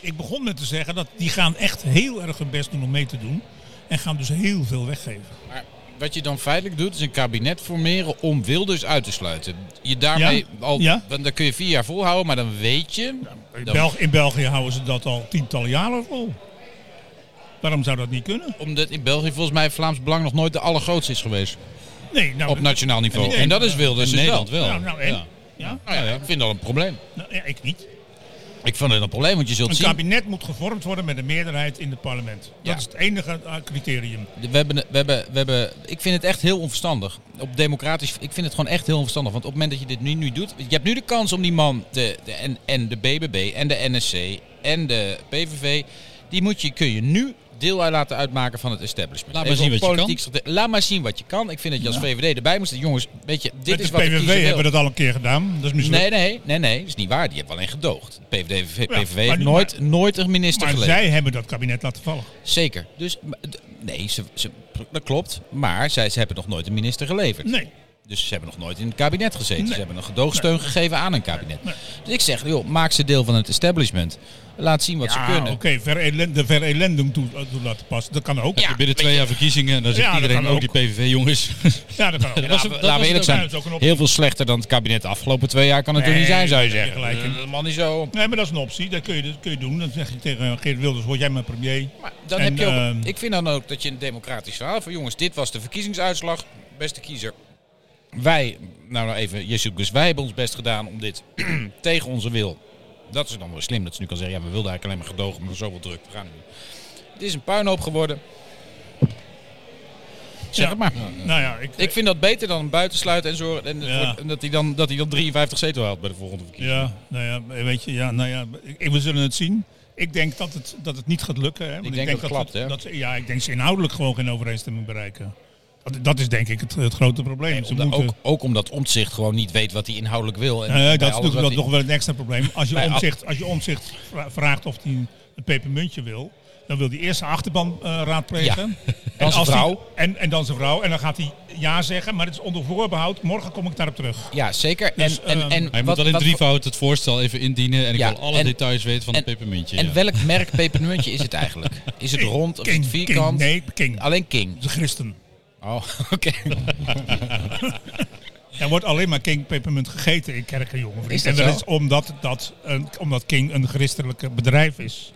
Ik begon met te zeggen dat die gaan echt heel erg hun best doen om mee te doen. En gaan dus heel veel weggeven.
Maar wat je dan feitelijk doet, is een kabinet formeren om Wilders uit te sluiten. Je daarmee
Ja,
al,
ja.
want dan kun je vier jaar volhouden, maar dan weet je.
In,
dan-
Belg- in België houden ze dat al tientallen jaren vol. Waarom zou dat niet kunnen?
omdat in België volgens mij Vlaams Belang nog nooit de allergrootste is geweest.
Nee, nou,
Op nationaal niveau.
Nee,
En dat is Wilders
in
dus
Nederland
wel.
wel.
Nou, nou en?
Ja.
Ja?
Nou ja, ik vind dat een probleem.
Nou, ja, ik niet.
Ik vond het een probleem, want je zult
Een
zien...
kabinet moet gevormd worden met een meerderheid in het parlement. Dat
Ja.
is het enige eh, criterium.
We hebben, we, hebben, we hebben, ik vind het echt heel onverstandig. Op democratisch, ik vind het gewoon echt heel onverstandig. Want op het moment dat je dit nu, nu doet, je hebt nu de kans om die man, de, de, en, en de BBB en de NSC en de PVV, die moet je, kun je nu deel uit laten uitmaken van het establishment.
Laat maar
Even
zien
op
wat je
politiek strate- Laat maar zien wat je kan. Ik vind dat je als VVD erbij moest. Jongens, weet je, dit
Met
is
de
wat de kiezer wil.
PVV hebben dat al een keer gedaan. Dat is misschien
Nee, nee, nee, nee. Dat is niet waar. Die hebben alleen gedoogd. De PVV,
Dus Ja,
PVV
maar
heeft
nu-
nooit, nooit een minister
maar
geleverd.
zij hebben dat kabinet laten vallen.
Zeker. Dus, m- d- nee, ze, ze, dat klopt. Maar zij, ze hebben nog nooit een minister geleverd.
Nee.
Dus ze hebben nog nooit in het kabinet gezeten.
Nee.
Ze hebben een gedoogsteun gegeven aan een kabinet. Dus ik zeg, joh, maak ze deel van het establishment. Laat zien wat ze
Ja, oké,
kunnen.
verelen- de verelending toe, eh, toe laten passen. Dat kan ook.
je binnen twee jaar verkiezingen en dan zegt
Ja, dat
iedereen
kan
ook
ook.
die PVV jongens. [laughs]
Ja, dat kan
was
ook.
[laughs] Laten
het-
we-
dat
Laten
was
we eerlijk
het
ook.
zijn.
Ja, dat is ook een optie.
Heel veel slechter dan het kabinet de afgelopen twee jaar kan het
Nee,
er niet zijn, zou je
daar heb je
zeggen.
gelijk in.
Eh, Helemaal niet zo.
Nee, maar dat is een optie. Dat kun je, dat kun je doen. Dan zeg je tegen Geert Wilders, word jij mijn premier.
Maar dan
En,
heb je ook,
ehm,
ik vind dan ook dat je een democratisch verhaal van jongens, dit was de verkiezingsuitslag, beste kiezer. Wij, nou nou even, Jezus, dus wij hebben ons best gedaan om dit [clears throat] tegen onze wil. Dat is dan wel slim dat ze nu kan zeggen, ja, we wilden eigenlijk alleen maar gedogen, maar zoveel druk, we gaan het niet. doen. Het is een puinhoop geworden. Zeg
Ja.
het maar.
Nou ja, ik,
Ik vind dat beter dan hem buitensluiten en zorgen en,
Ja.
voor- en dat, hij dan, dat hij dan 53 zetel haalt bij de volgende verkiezing.
ja, nou ja, weet je, ja, nou ja, ik- we zullen het zien. Ik denk dat het, dat het niet gaat lukken. Hè? Want
denk dat het klapt,
we-
hè?
dat ze- ja, ik denk ze inhoudelijk gewoon geen overeenstemming bereiken. Dat, dat is denk ik het, het grote probleem. ze
Omdat-
moeten,
ook, ook omdat Omtzigt gewoon niet weet wat hij inhoudelijk wil. En
Eh,
bij
dat
alles
is natuurlijk wel,
wat
nog wel een extra probleem. Als je
Bij al-
omzicht, als je omzicht vraagt of hij een pepermuntje wil, dan wil hij eerst zijn achterban eh, raadplegen.
Dan
[laughs] en
zijn
als hij-
vrouw.
en, en dan zijn vrouw. En dan gaat hij ja zeggen, maar het is onder voorbehoud. Morgen kom ik daarop terug.
Ja, zeker.
Dus,
en, en,
ehm,
en
Hij
wat-
moet alleen
wat voor-
drievoud het voorstel even indienen en ik
Ja,
wil alle
en-
details weten van
en-
het pepermuntje.
En
ja.
welk merk pepermuntje is het eigenlijk? Is het rond of is het vierkant?
King, nee, King.
Alleen King.
De christen.
Oh, [laughs] oké.
Er wordt alleen maar King pepermunt gegeten in kerken, jongen.
Is dat
en dat
zo?
is omdat, dat, een, omdat King een christelijke bedrijf is.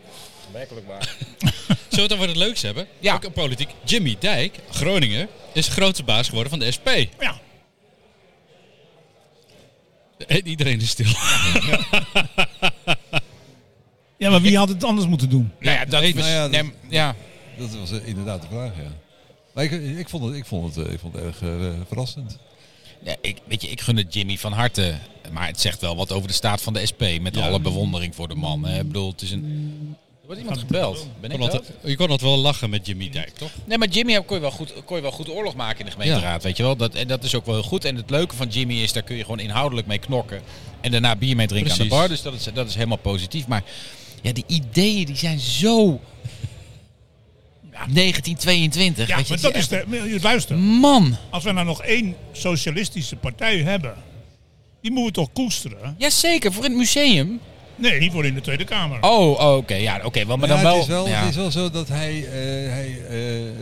Zullen we het over het leuks hebben?
Ja.
Ook een politiek. Jimmy Dijk, Groninger, is de grootste baas geworden van de SP.
Ja,
En Eh, iedereen is stil.
ja maar wie had het anders moeten doen?
Nou ja, dat
nee,
is
nou ja, dat-
nee, ja.
Dat was eh, inderdaad de vraag, ja. Maar ik, ik, vond het, ik, vond het, eh, ik vond het erg eh, verrassend.
Ja, ik, weet je, ik gun het Jimmy van harte. Maar het zegt wel wat over de staat van de SP. Met alle bewondering voor de man. hè. Ik bedoel, het is een... Er wordt iemand gebeld. Ben ik
Kon
dat?
altijd- je kon dat wel lachen met Jimmy Dijk, toch?
Nee, maar Jimmy kon je wel goed, kon je wel goed oorlog maken in de gemeenteraad. Weet je wel? Dat, en dat is ook wel heel goed. En het leuke van Jimmy is, daar kun je gewoon inhoudelijk mee knokken. En daarna bier mee drinken aan de
Precies.
bar. Dus dat is, dat is helemaal positief. Maar ja, die ideeën die zijn zo... 1922.
Ja,
weet je,
maar
het
dat is
echt-
de... Luister.
Man.
Als we nou nog één socialistische partij hebben, die moeten we toch koesteren?
Jazeker, voor in het museum.
Nee, voor in de Tweede Kamer.
Oh, oh, oké. ja, oké. wel, maar
Ja,
dan wel...
het, is wel
ja.
het is wel zo dat hij, eh, hij, eh, eh,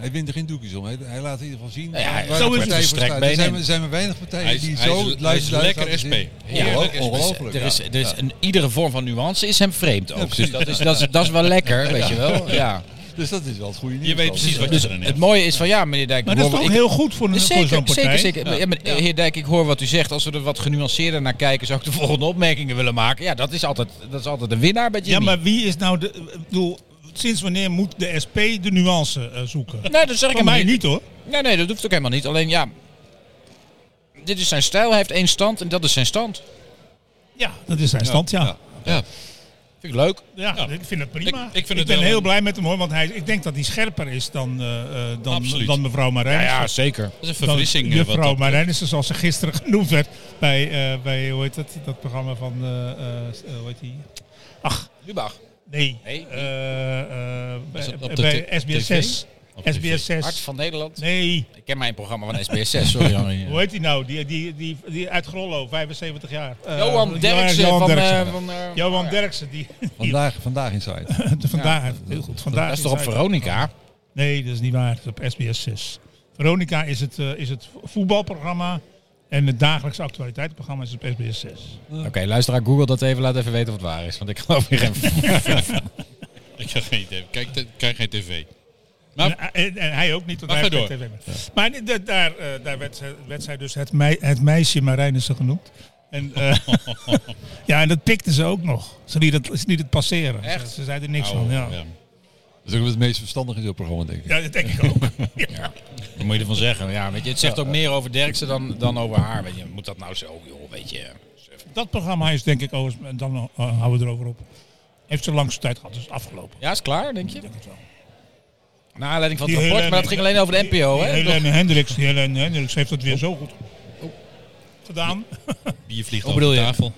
hij wint er geen doekjes om. Hij, hij laat in ieder geval zien
ja, zo
waar de
is het.
partij voor
Gestrekt
staat.
been
Er zijn,
in.
er zijn maar weinig partijen
Hij is-
die
hij is-
zo
hij is
luid- luid
lekker
laten
SP.
zien.
Heerlijk
Ongelooflijk,
SP.
Ongelooflijk.
Er
ja. Dus
is, er is
Ja.
een, iedere vorm van nuance is hem vreemd ook. dus
precies.
dat is, dat, is, dat is wel lekker, weet je wel. Ja.
Dus dat is wel het goede nieuws.
Je weet
dan.
precies wat je
Dus
erin
het
hebt.
mooie is van ja, meneer Dijk.
maar dat is toch
ik-
heel goed voor, een- voor
Zeker,
zo'n
zeker,
partij?
zeker. Ja. maar, eh, heer Dijk, ik hoor wat u zegt. Als we er wat genuanceerder naar kijken, zou ik de [laughs] volgende opmerkingen willen maken. Ja, dat is altijd, dat is altijd een winnaar bij Jimmy.
Ja, maar wie is nou de... Ik bedoel, sinds wanneer moet de SP de nuance eh, zoeken?
Nee, dat zeg ik
Voor
helemaal
mij
niet.
niet hoor.
Nee, nee, dat hoeft ook helemaal niet. Alleen ja, dit is zijn stijl. Hij heeft één stand en dat is zijn stand.
Ja, dat is zijn stand, ja. ja.
Ja.
Vind ik leuk.
ik vind het prima.
Ik-
Ik,
ik vind het
ben
wel
heel
een-
blij met hem hoor, want hij, ik denk dat hij scherper is dan, eh, eh, dan,
Absoluut.
dan mevrouw Marijnissen.
zeker.
Dat is een
Dan
verfrissing. eh, wat
Mevrouw
dat-
Marijnissen, zoals ze gisteren genoemd werd bij, eh, bij hoe heet dat, dat programma van, eh, eh, eh, hoe heet die? Ach,
Lubach.
Nee.
Nee?
Eh, eh,
Is
bij
dat op de
bij
t-
SBS 6.
Op tv.
SBS
Hart
6.
van Nederland.
Nee.
Ik ken mijn programma van SBS6, [laughs] sorry. Henri.
Hoe heet die nou? Die, die, die, die uit Grollo, 75 jaar. Eh,
Johan Derksen
Johan
van...
Derksen.
eh, van, eh,
Johan
ja.
Derksen, die, [laughs] die
Vandaag, vandaag Inside.
[laughs] vandaag, heel goed, vandaag
Dat is toch op
hij-
Veronica?
Nee, dat is niet waar. Dat is op SBS 6. Veronica is het, eh, is het voetbalprogramma en het dagelijkse actualiteitsprogramma is op SBS 6.
Oké, luisteraar, Google dat even. Laat even weten of het waar is. Want ik geloof hier
[laughs]
geen...
Ik heb geen idee. Kijk, ik krijg geen tv.
En, eh, en- en hij ook niet, want
Maar
hij
ga
heeft geen tv meer. Maar de- daar, eh, daar werd, ze- werd zij dus het, mei- het meisje Marijnissen genoemd. En,
[laughs]
eh, ja, en dat pikten ze ook nog. Ze lieten het, ze lieten het passeren.
Echt? Nou,
Ze, ze zeiden er niks
Oh,
van. Ja. Ja.
Dat is ook het meest verstandige in zo'n programma, denk ik.
dat denk ik ook. [laughs] Ja.
Wat moet je ervan zeggen? Ja, weet je, het zegt ook meer over Derksen dan, dan over haar. Weet je, moet dat nou zo, joh, weet je.
Dat programma is denk ik, overigens, en dan eh, houden we erover op, heeft ze langste tijd gehad. Dus afgelopen.
Ja, is klaar, denk je?
Ik denk het wel.
Naar aanleiding van het
Die
rapport,
Helene-
maar dat ging alleen over de NPO,
Die
hè?
Helene Hendricks, die Helene Hendricks heeft dat weer zo goed gedaan.
Bier vliegt
Wat
over de
bedoel je?
tafel.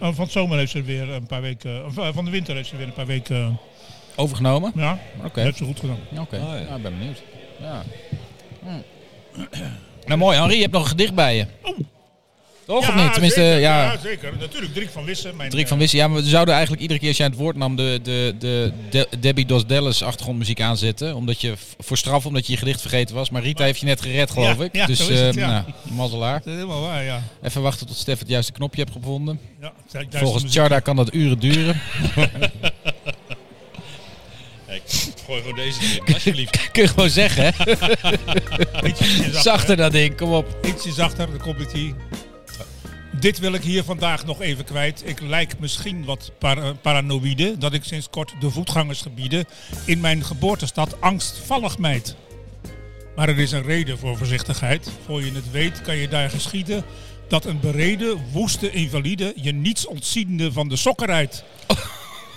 Eh, Van de zomer heeft ze weer een paar weken, of, eh, van de winter heeft ze weer een paar weken, eh,
Overgenomen?
ja, Oh,
Oké.
dat heeft ze goed gedaan.
Ja, Oké,
Ah, ja.
Ja, ik ben benieuwd. Ja. Hm. Nou mooi, Henri, je hebt nog een gedicht bij je.
Oh.
Toch of niet? Tenminste,
zeker,
ja.
zeker. Natuurlijk, Driek van Wissen. Mijn, eh,
Driek van Wissen, ja, maar we zouden eigenlijk iedere keer als jij het woord nam de, de, de, de- Debbie Dos Dallas achtergrondmuziek aanzetten. Omdat je, voor straf, omdat je je gedicht vergeten was. Maar Rita heeft je net gered, geloof
Ja,
ik.
ja,
dus
zo is het,
eh,
ja.
nou, mazzelaar.
Dat is helemaal waar, ja.
Even wachten tot Stef het juiste knopje hebt gevonden.
ja duizend
Volgens
muziek.
Charda kan dat uren duren.
Ik gooi gewoon deze erin, alsjeblieft.
[laughs] Kun je gewoon zeggen, hè?
Ietsje
Zachter dat ding, kom
[laughs]
op.
Ietsje zachter, dan komt het hier. Dit wil ik hier vandaag nog even kwijt. Ik lijk misschien wat para- paranoïde dat ik sinds kort de voetgangersgebieden in mijn geboortestad angstvallig mijd. Maar er is een reden voor voorzichtigheid. Voor je het weet kan je daar geschieden dat een bereden, woeste invalide je niets ontziende van de sokken rijdt.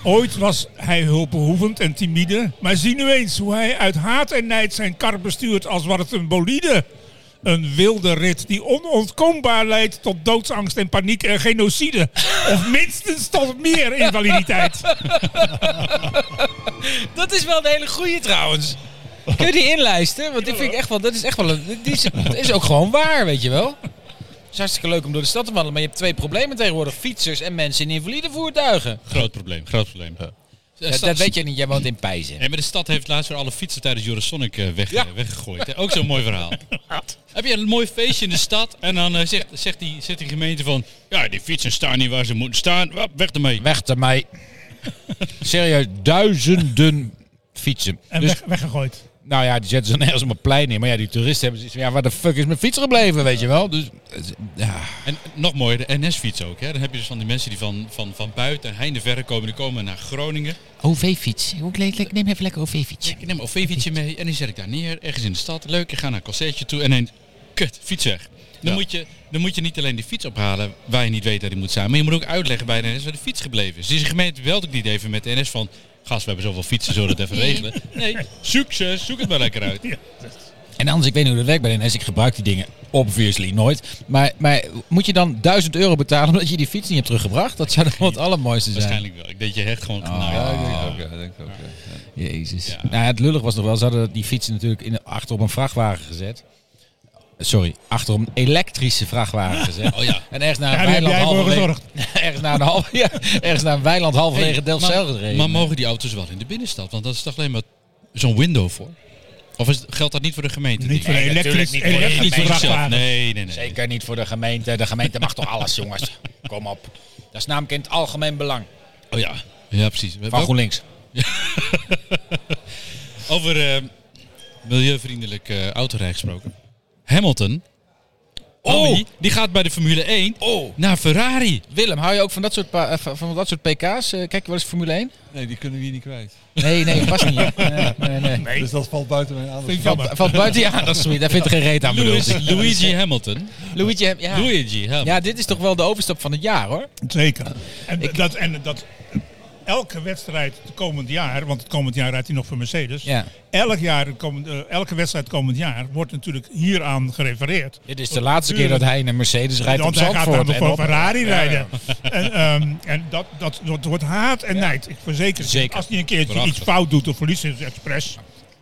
Ooit was hij hulpbehoevend en timide, maar zie nu eens hoe hij uit haat en nijd zijn kar bestuurt als wat het een bolide. Een wilde rit die onontkoombaar leidt tot doodsangst en paniek en genocide. Of minstens tot meer invaliditeit.
Dat is wel een hele goeie trouwens. Kun je die inlijsten? Want die vind ik echt wel, dat is echt wel een, die is, dat is ook gewoon waar, weet je wel. Het is hartstikke leuk om door de stad te wandelen, maar je hebt twee problemen tegenwoordig. Fietsers en mensen in invalide voertuigen.
Groot probleem, groot probleem.
Dat, dat weet je niet, jij woont in Pijzen.
Nee, maar de stad heeft laatst weer alle fietsen tijdens Eurosonic eh, weg,
Ja.
eh, weggegooid. hè. Ook zo'n mooi verhaal. Heb je een mooi feestje in de stad en dan eh, zegt, zegt, die, zegt die gemeente van... Ja, die fietsen staan niet waar ze moeten staan. Wap, weg ermee.
Weg ermee. Serieus, duizenden fietsen.
En
Dus,
weg, weggegooid.
nou ja, die zetten ze dan ergens op een plein in. Maar ja, die toeristen hebben zoiets van, ja, waar de fuck is mijn fiets gebleven, weet je wel. Dus, het is- ja.
En nog mooier, de NS-fiets ook. Hè? Dan heb je dus van die mensen die van, van, van buiten en heinde verre komen. Die komen naar Groningen.
OV-fiets. Hoe le- le- Neem even lekker OV-fiets.
Ik neem mijn OV-fietsje mee en die zet ik daar neer. Ergens in de stad. Leuk, ik ga naar een concertje toe. En ineens, kut, fiets weg. Dan, moet je, dan moet je niet alleen die fiets ophalen waar je niet weet dat die moet zijn. Maar je moet ook uitleggen bij de NS waar de fiets gebleven is. Dus de gemeente belt ook niet even met de NS van... Gast, we hebben zoveel fietsen, zullen we dat even regelen? Nee, succes, zoek het maar lekker uit.
En anders, ik weet niet hoe dat werkt bij de NS. Ik gebruik die dingen obviously nooit. Maar, maar moet je dan 1000 euro betalen omdat je die fiets niet hebt teruggebracht? Dat zou dan
[laughs]
wel het allermooiste zijn.
Waarschijnlijk wel. Ik denk je hecht gewoon
Ah.
Nou genaaid.
Ja, ik denk het ook, ja, ik denk het ook, ja.
Jezus. Nou, ja, het lullig was nog wel, ze hadden die fietsen natuurlijk in, achter op een vrachtwagen gezet. Sorry, achter op een elektrische
[laughs]
vrachtwagen gezet.
Oh ja.
En ergens naar
Daar
een
heb
weiland
jij voor
halverwege...
gezorgd.
[laughs] Ergens naar een, half, ja, ergens naar een weiland halverwege
Hey,
Delfzijl
maar-
gereden.
Maar mogen die auto's wel in de binnenstad? Want dat is toch alleen maar zo'n window voor? Of is, geldt dat niet voor de gemeente?
Niet voor de
Nee,
elektrisch,
natuurlijk niet voor de
elektrisch
Niet voor zichzelf.
vrachtwagen.
Nee, nee, nee.
Zeker niet voor de gemeente. De gemeente mag toch alles, jongens. Kom op. Dat is namelijk in het algemeen belang
Oh ja. Ja, precies.
van
Welk-
GroenLinks.
Over eh, milieuvriendelijk eh autorij gesproken. Hamilton. Oh! die gaat bij de Formule 1
Oh.
naar Ferrari.
Willem, hou je ook van dat soort, pa- eh, van van dat soort PK's? Eh, Kijk je wel eens Formule 1?
Nee, die kunnen we hier niet kwijt.
Nee, nee, past niet. Nee, nee, nee.
Dus dat valt buiten mijn aandacht.
Vind ik jammer.
Valt, valt buiten je aandachtsgebied. Daar vindt er geen reet aan, bedoel
Louis,
ik.
Luigi Hamilton.
Luigi, hem- ja.
Luigi Hamilton.
ja, dit is toch wel de overstap van het jaar, hoor.
Zeker. En dat, en dat elke wedstrijd het komend jaar, want het komend jaar rijdt hij nog voor Mercedes.
Ja.
Elk jaar, het komend, eh, elke wedstrijd komend jaar wordt natuurlijk hieraan gerefereerd.
Dit is de laatste keer dat hij in een Mercedes rijdt op
Want hij gaat
Zandvoort.
namelijk
en
voor
op-
Ferrari rijden. En, ehm, en dat, dat, dat wordt haat en nijd. Ik verzeker het je.
Zeker.
Als hij een keertje
Prachtig.
iets fout doet of verliest in het expres.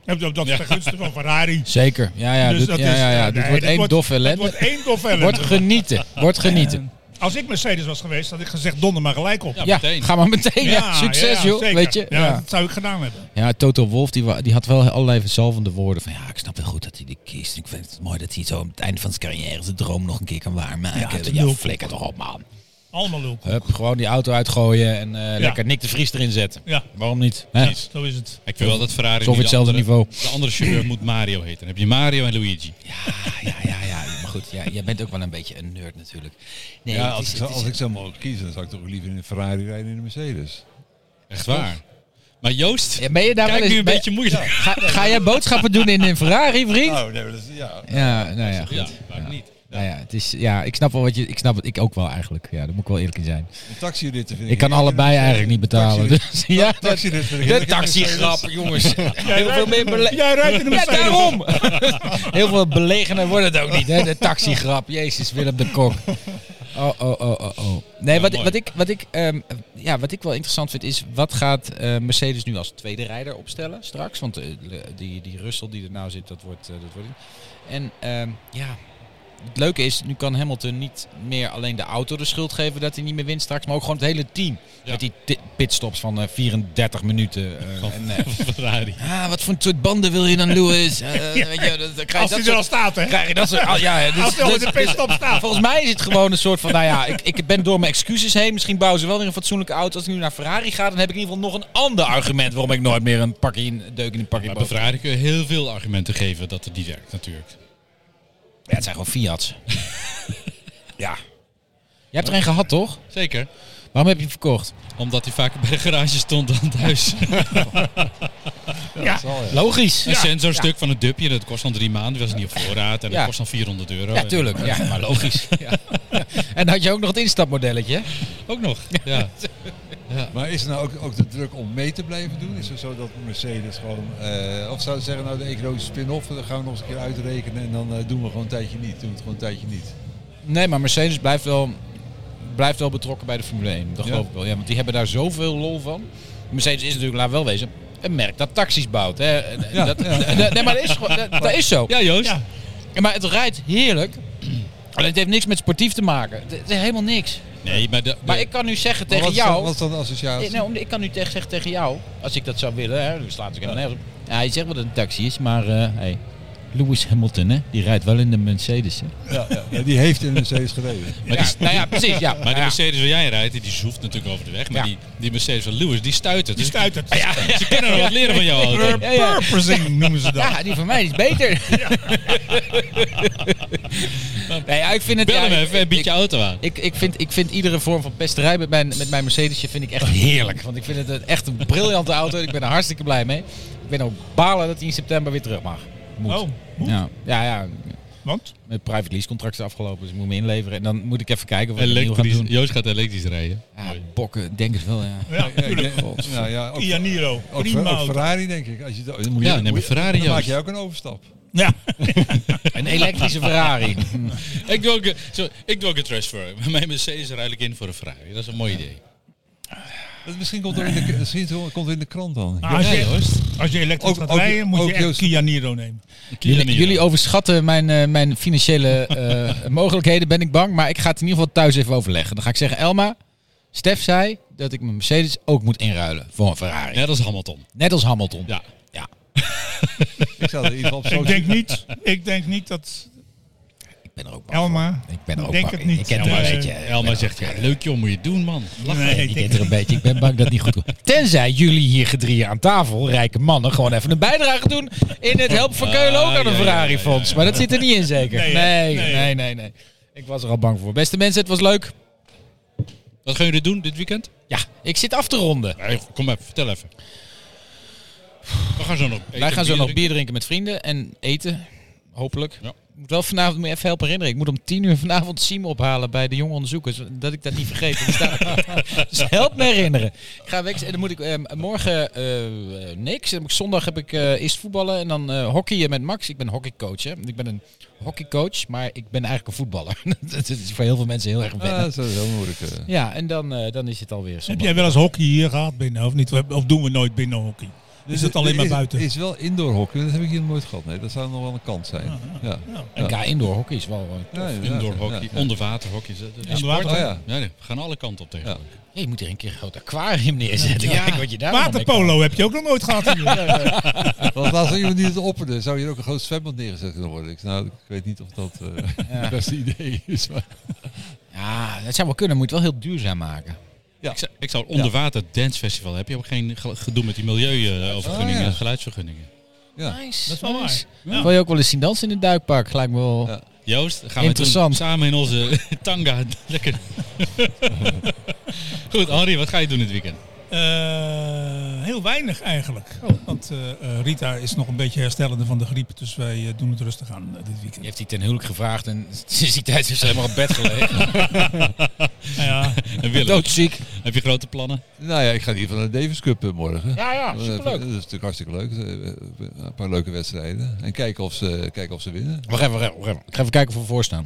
heb je- Dat is ten gunste van Ferrari. Dus
Zeker. Ja, ja, dit,
dat
ja,
is-
ja, ja.
nee,
dit wordt één dof
Het wordt
ellende.
één
[laughs]
dof
Wordt
ellende.
genieten. Wordt genieten.
Als ik Mercedes was geweest, had ik gezegd donder maar gelijk op.
Ja,
meteen.
ga maar meteen. Ja, succes,
ja,
joh.
zeker.
Weet je?
Ja,
Ja.
dat zou ik gedaan hebben.
Ja, Toto Wolf die, wa- die had wel allerlei verzalvende woorden. Van ja, ik snap wel goed dat hij dit kiest. Ik vind het mooi dat hij zo aan het einde van zijn carrière zijn droom nog een keer kan waarmaken. Ja,
tuurlijk.
flikker toch op, man.
Allemaal loop.
Hup, gewoon die auto uitgooien en eh, lekker Nick de Vries erin zetten.
Ja.
Waarom niet? Hè?
Precies, zo is het.
Ik vind wel dat Ferrari...
Zo op
niet de
hetzelfde
andere-
niveau.
De andere chauffeur moet Mario heten. Dan heb je Mario en Luigi.
Ja, ja, ja, ja. Je mag
goed, ja, jij bent ook wel een beetje een nerd natuurlijk. Nee,
ja,
het
als,
is-
ik zou,
het is-
als ik zou mogen kiezen, dan zou ik toch liever in een Ferrari rijden in een Mercedes.
Echt waar. Maar Joost,
Ja, ben je daar
kijk
wel
nu een
eens, ben-
beetje moeilijk.
Ga, ga jij boodschappen doen in een Ferrari, vriend?
Nou, nee, maar dat is, ja.
Ja, nou ja, goed.
Ja, waarom niet?
Nou ja, het is, ja, ik snap wel wat je... Ik snap het, ik ook wel eigenlijk. Ja, daar moet ik wel eerlijk in zijn.
Een taxiritten vind ik...
Ik kan
heerlijk in een
allebei
eh,
Mercedes.
eigenlijk niet betalen.
Taxiritten-
Dus, [laughs] ja, dat-
taxiritten vind ik
de
[laughs]
heerlijk in een
taxigrap,
Mercedes.
jongens. Heel veel meer bele-
Jij rijdt in de
Ja,
Mercedes. [laughs]
daarom. Heel veel belegener wordt het ook niet, hè? De taxigrap. Jezus, Willem de Kok. Oh, oh, oh, oh, oh. Nee, wat,
mooi.
wat, ik, wat, ik, ehm, ja, wat ik wel interessant vind is... wat gaat eh, Mercedes nu als tweede rijder opstellen straks? Want eh, die, die Russell die er nou zit, dat wordt... eh, dat wordt en ehm, ja, het leuke is... nu kan Hamilton niet meer alleen de auto de schuld geven... dat hij niet meer wint straks, maar ook gewoon het hele team.
Ja.
Met die ti- pitstops van eh, 34 minuten. eh, en,
[laughs]
eh,
Ferrari.
Ah, wat voor een soort banden wil je dan,
[laughs]
Lewis? Eh, weet je, dan, dan krijg je
Als
dat
hij er al
soort...
staat, hè?
Krijg je dat soort... ah, ja, hè, dus-
Als hij al in de
dus-
pitstop staat.
Volgens mij is het gewoon een soort van, nou ja, ik, ik ben door mijn excuses heen. Misschien bouwen ze wel weer een fatsoenlijke auto. Als ik nu naar Ferrari ga, dan heb ik in ieder geval nog een ander argument waarom ik nooit meer een pakje in, deuk in een pakje
Maar bij
boter-
Ferrari kun je heel veel argumenten geven dat het niet werkt, natuurlijk.
Ja, het zijn gewoon [laughs] Fiat's. ja. Jij hebt er een gehad, toch?
Zeker.
Waarom heb je hem verkocht?
Omdat hij vaker bij de garage stond dan
[laughs]
thuis.
Ja.
Oh, Logisch.
Een sensorstuk van een dubje, dat kost dan drie maanden. Die was niet op voorraad en
Ja.
dat kost dan 400 euro.
Ja, tuurlijk.
En-
Ja, maar logisch. [laughs] Ja. En had je ook nog het instapmodelletje?
Ook nog. Ja.
Maar is er nou ook, ook de druk om mee te blijven doen? Is het zo dat Mercedes gewoon... eh, of zouden ze zeggen, nou de economische spin-off, dan gaan we nog eens een keer uitrekenen en dan eh, doen we gewoon een tijdje niet. Doen we het gewoon een tijdje niet.
Nee, maar Mercedes blijft wel, blijft wel betrokken bij de Formule 1. Dat
Ja.
geloof ik wel. Ja, want die hebben daar zoveel lol van. Mercedes is natuurlijk, laat wel wezen, een merk dat taxis bouwt. Hè. En- en
Ja,
dat,
ja.
Nee, maar dat is, gewoon- dat, dat is zo.
Ja, Joost.
Ja.
Maar het rijdt heerlijk. Alleen het heeft niks met sportief te maken. Het, het is helemaal niks.
Nee, maar, de,
Maar ik kan nu zeggen
Maar
tegen
wat is dan-
jou...
Wat is dan de
nou-
associatie?
Nee, om- ik kan nu tegen, zeggen tegen jou, als ik dat zou willen, hè, dan slaat ik helemaal nergens op. Ja, hij zegt wat een taxi is, maar eh, hey, Lewis Hamilton, hè, die rijdt wel in de Mercedes. Hè.
Ja, ja, ja, die heeft in een Mercedes
[laughs]
gereden.
maar
Ja,
die-
nou ja, precies. Ja.
maar die
Ja.
Mercedes waar jij rijdt, die- die zoeft natuurlijk over de weg. Maar
Ja.
die, die Mercedes van Lewis, die stuit het.
Die
Dus
stuit het. Ja.
Ze kunnen wel wat leren van jou. auto.
Ja, ja.
Repurposing noemen ze dat.
Ja, die van mij is beter. [laughs] nee, ja, ik vind het.
Bel
ja,
hem
ik-
even en bied je auto aan.
ik, ik, vind, ik vind iedere vorm van pesterij met mijn, met mijn Mercedesje vind ik echt heerlijk. Want ik vind het een- echt een briljante auto en ik ben er hartstikke blij mee. Ik ben ook balen dat hij in september weer terug mag. Moet.
Oh, moet.
Ja, ja, ja.
Want?
Mijn private lease contract is afgelopen, dus ik moet me inleveren. En dan moet ik even kijken wat ik nieuw ga
Elektrisch.
doen.
Joost gaat elektrisch rijden.
Ja, bokken, denk het wel, ja.
Ja, natuurlijk.
Nou ja, ook,
Kia Niro.
ook,
Prima
ook
auto.
Ferrari denk ik. Als je, dat- dan moet je,
Ja, neem een
moet je-
Ferrari,
Dan maak
Joost.
je ook een overstap.
Ja.
Een elektrische Ferrari.
Ik doe ook, een- zo, ik doe ook een transfer. [laughs] Mijn Mercedes rijd ik in voor een Ferrari. Dat is een mooi idee.
Dat misschien komt er in de, misschien komt er in de krant dan.
Maar als,
Ja,
je,
Joost.
als je elektrisch
Ook-
gaat
ook-
rijden, moet
ook
je echt
Joost.
Kia Niro nemen.
Jullie, jullie overschatten mijn, eh, mijn financiële eh, mogelijkheden, ben ik bang. Maar ik ga het in ieder geval thuis even overleggen. Dan ga ik zeggen, Elma, Stef zei dat ik mijn Mercedes ook moet inruilen voor een Ferrari.
Net als Hamilton.
Net als Hamilton.
Ja.
Ik zou er in ieder geval op
Ik
social-
denk niet, ik denk niet dat
Ik ben er ook bang
Elma...
voor. Ik ben er ook
Denk
bang.
het niet.
Ik ken
Elma
er een
zegt-
beetje.
Elma zegt, ja, leuk joh, moet je doen man.
Nee, ik
Ik
denk-
ken er een beetje. Ik ben bang dat het niet goed komt. Tenzij jullie hier gedrieën aan tafel, rijke mannen, gewoon even een bijdrage doen in het Help van Keulen ook aan een
ja, ja,
Ferrari
ja,
fonds.
ja.
Maar dat zit er niet in zeker.
Nee,
Nee,
hè?
nee,
Nee, hè?
nee, nee. Ik was er al bang voor. Beste mensen, het was leuk.
Wat gaan jullie doen dit weekend?
Ja, ik zit af te ronden.
Nee, kom even, vertel even. We gaan zo nog eten,
Wij gaan zo nog
bier drinken.
bier drinken met vrienden en eten, hopelijk.
Ja.
Ik moet wel vanavond moet je even helpen herinneren. Ik moet om tien uur vanavond Siem ophalen bij de jonge onderzoekers. Dat ik dat niet vergeet. want die staan- [laughs] dus help me herinneren. Ik ga weg en dan moet ik eh, morgen eh, eh, niks. Dan heb ik- zondag heb ik eh, eerst voetballen en dan eh hockeyen met Max. Ik ben hockeycoach. Hè. Ik ben een hockeycoach, maar ik ben eigenlijk een voetballer. [laughs] dat is voor heel veel mensen heel erg
Ah,
wennen.
dat is heel moeilijk. eh.
Ja, en dan, eh, dan is het alweer
Heb
zondag.
jij wel eens hockey hier gehad binnen of niet? Of doen we nooit binnen hockey? Is Dus het alleen maar
Dus Is-
buiten?
Is wel indoor hockey. Dat heb ik hier nog nooit gehad. Nee, dat zou nog wel een kant zijn. Ja.
En Ja, indoor hockey is wel... eh,
Ja, inderdaad.
Indoor hockey,
Ja, ja.
onderwater hockey. dat- dat-
Onder
Oh,
water?
ja.
Ja, nee, we gaan alle kanten op tegen.
Ja.
je moet hier een keer een groot aquarium neerzetten.
Ja.
Kijk wat je daar allemaal mee kan.
Waterpolo heb je ook nog nooit gehad hier.
Want laatst had iemand die het opperde. Zou hier ook een groot zwembad neergezet kunnen worden? Ik, zei, nou, ik weet niet of dat eh, het beste idee is. Maar...
Ja, dat zou wel kunnen. Moet je het wel heel duurzaam maken.
Ik, zou, ik zou een onderwater dancefestival hebben. Je hebt ook geen ge- gedoe met die milieuovergunningen,
Oh, ja.
geluidsvergunningen.
Ja.
Nice.
Dat is wel waar.
Wil je ook wel eens zien dansen in een duikpark? Gelijk me wel.
Ja.
Joost, gaan we toen
Interessant.
samen in onze [laughs] tanga
[laughs]
lekker. Goed, Henri, wat ga je doen dit weekend?
Eh, heel weinig eigenlijk. Want eh, eh, Rita is nog een beetje herstellende van de griep. Dus wij eh, doen het rustig aan eh, dit weekend.
Je hebt die ten huwelijk gevraagd en sinds die tijd heeft ze helemaal op bed
[laughs]
gelegen.
Nou ja,
En Willem,
Doodziek.
heb je grote plannen?
Nou ja, ik ga in ieder geval naar de Davis Cup eh, morgen.
Ja, ja,
Dat
superleuk.
is natuurlijk hartstikke leuk. Eh, Een paar leuke wedstrijden. En kijken of ze, kijken of ze winnen.
Wacht even, wacht even, wacht even. Ik ga even kijken of we voorstaan.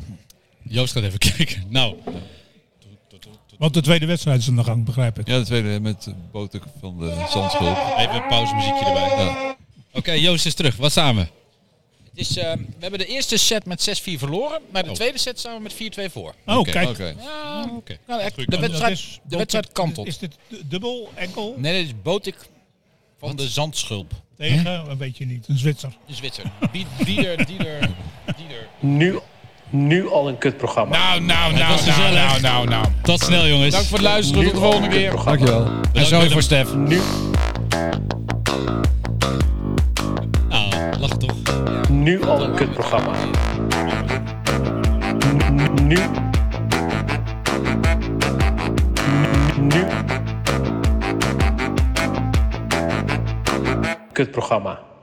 Joost gaat even [laughs] kijken. Nou,
want de tweede wedstrijd is aan de gang, begrijp ik.
Ja, de tweede met Botek van de Zandschulp.
even een pauzemuziekje erbij.
Ja.
Oké, Joost is terug. Wat samen?
Het is, eh, we hebben de eerste set met 6-4 verloren, maar de
Oh.
tweede set staan we met 4-2 voor.
Oh,
Oké.
kijk.
Oké.
Ja,
Oké.
nou, echt,
Goeie
de,
kant.
wedstrijd, de wedstrijd kantelt.
Is dit du- dubbel, enkel?
Nee, dit is Botik van de Zandschulp.
Tegen? Een beetje niet. Een Zwitser.
Een Zwitser. Die- Dieder, Dieder, Dieder.
Nu, nu al een kutprogramma.
Nou, nou, nou, nou, nou, nou, nou.
Tot snel, jongens.
Dank voor het luisteren. Tot de volgende keer.
Dankjewel.
En
Bedankt,
sorry
Willem.
voor Stef.
Nou, lach toch.
Nu al een kutprogramma. Nu. Nu. Kutprogramma.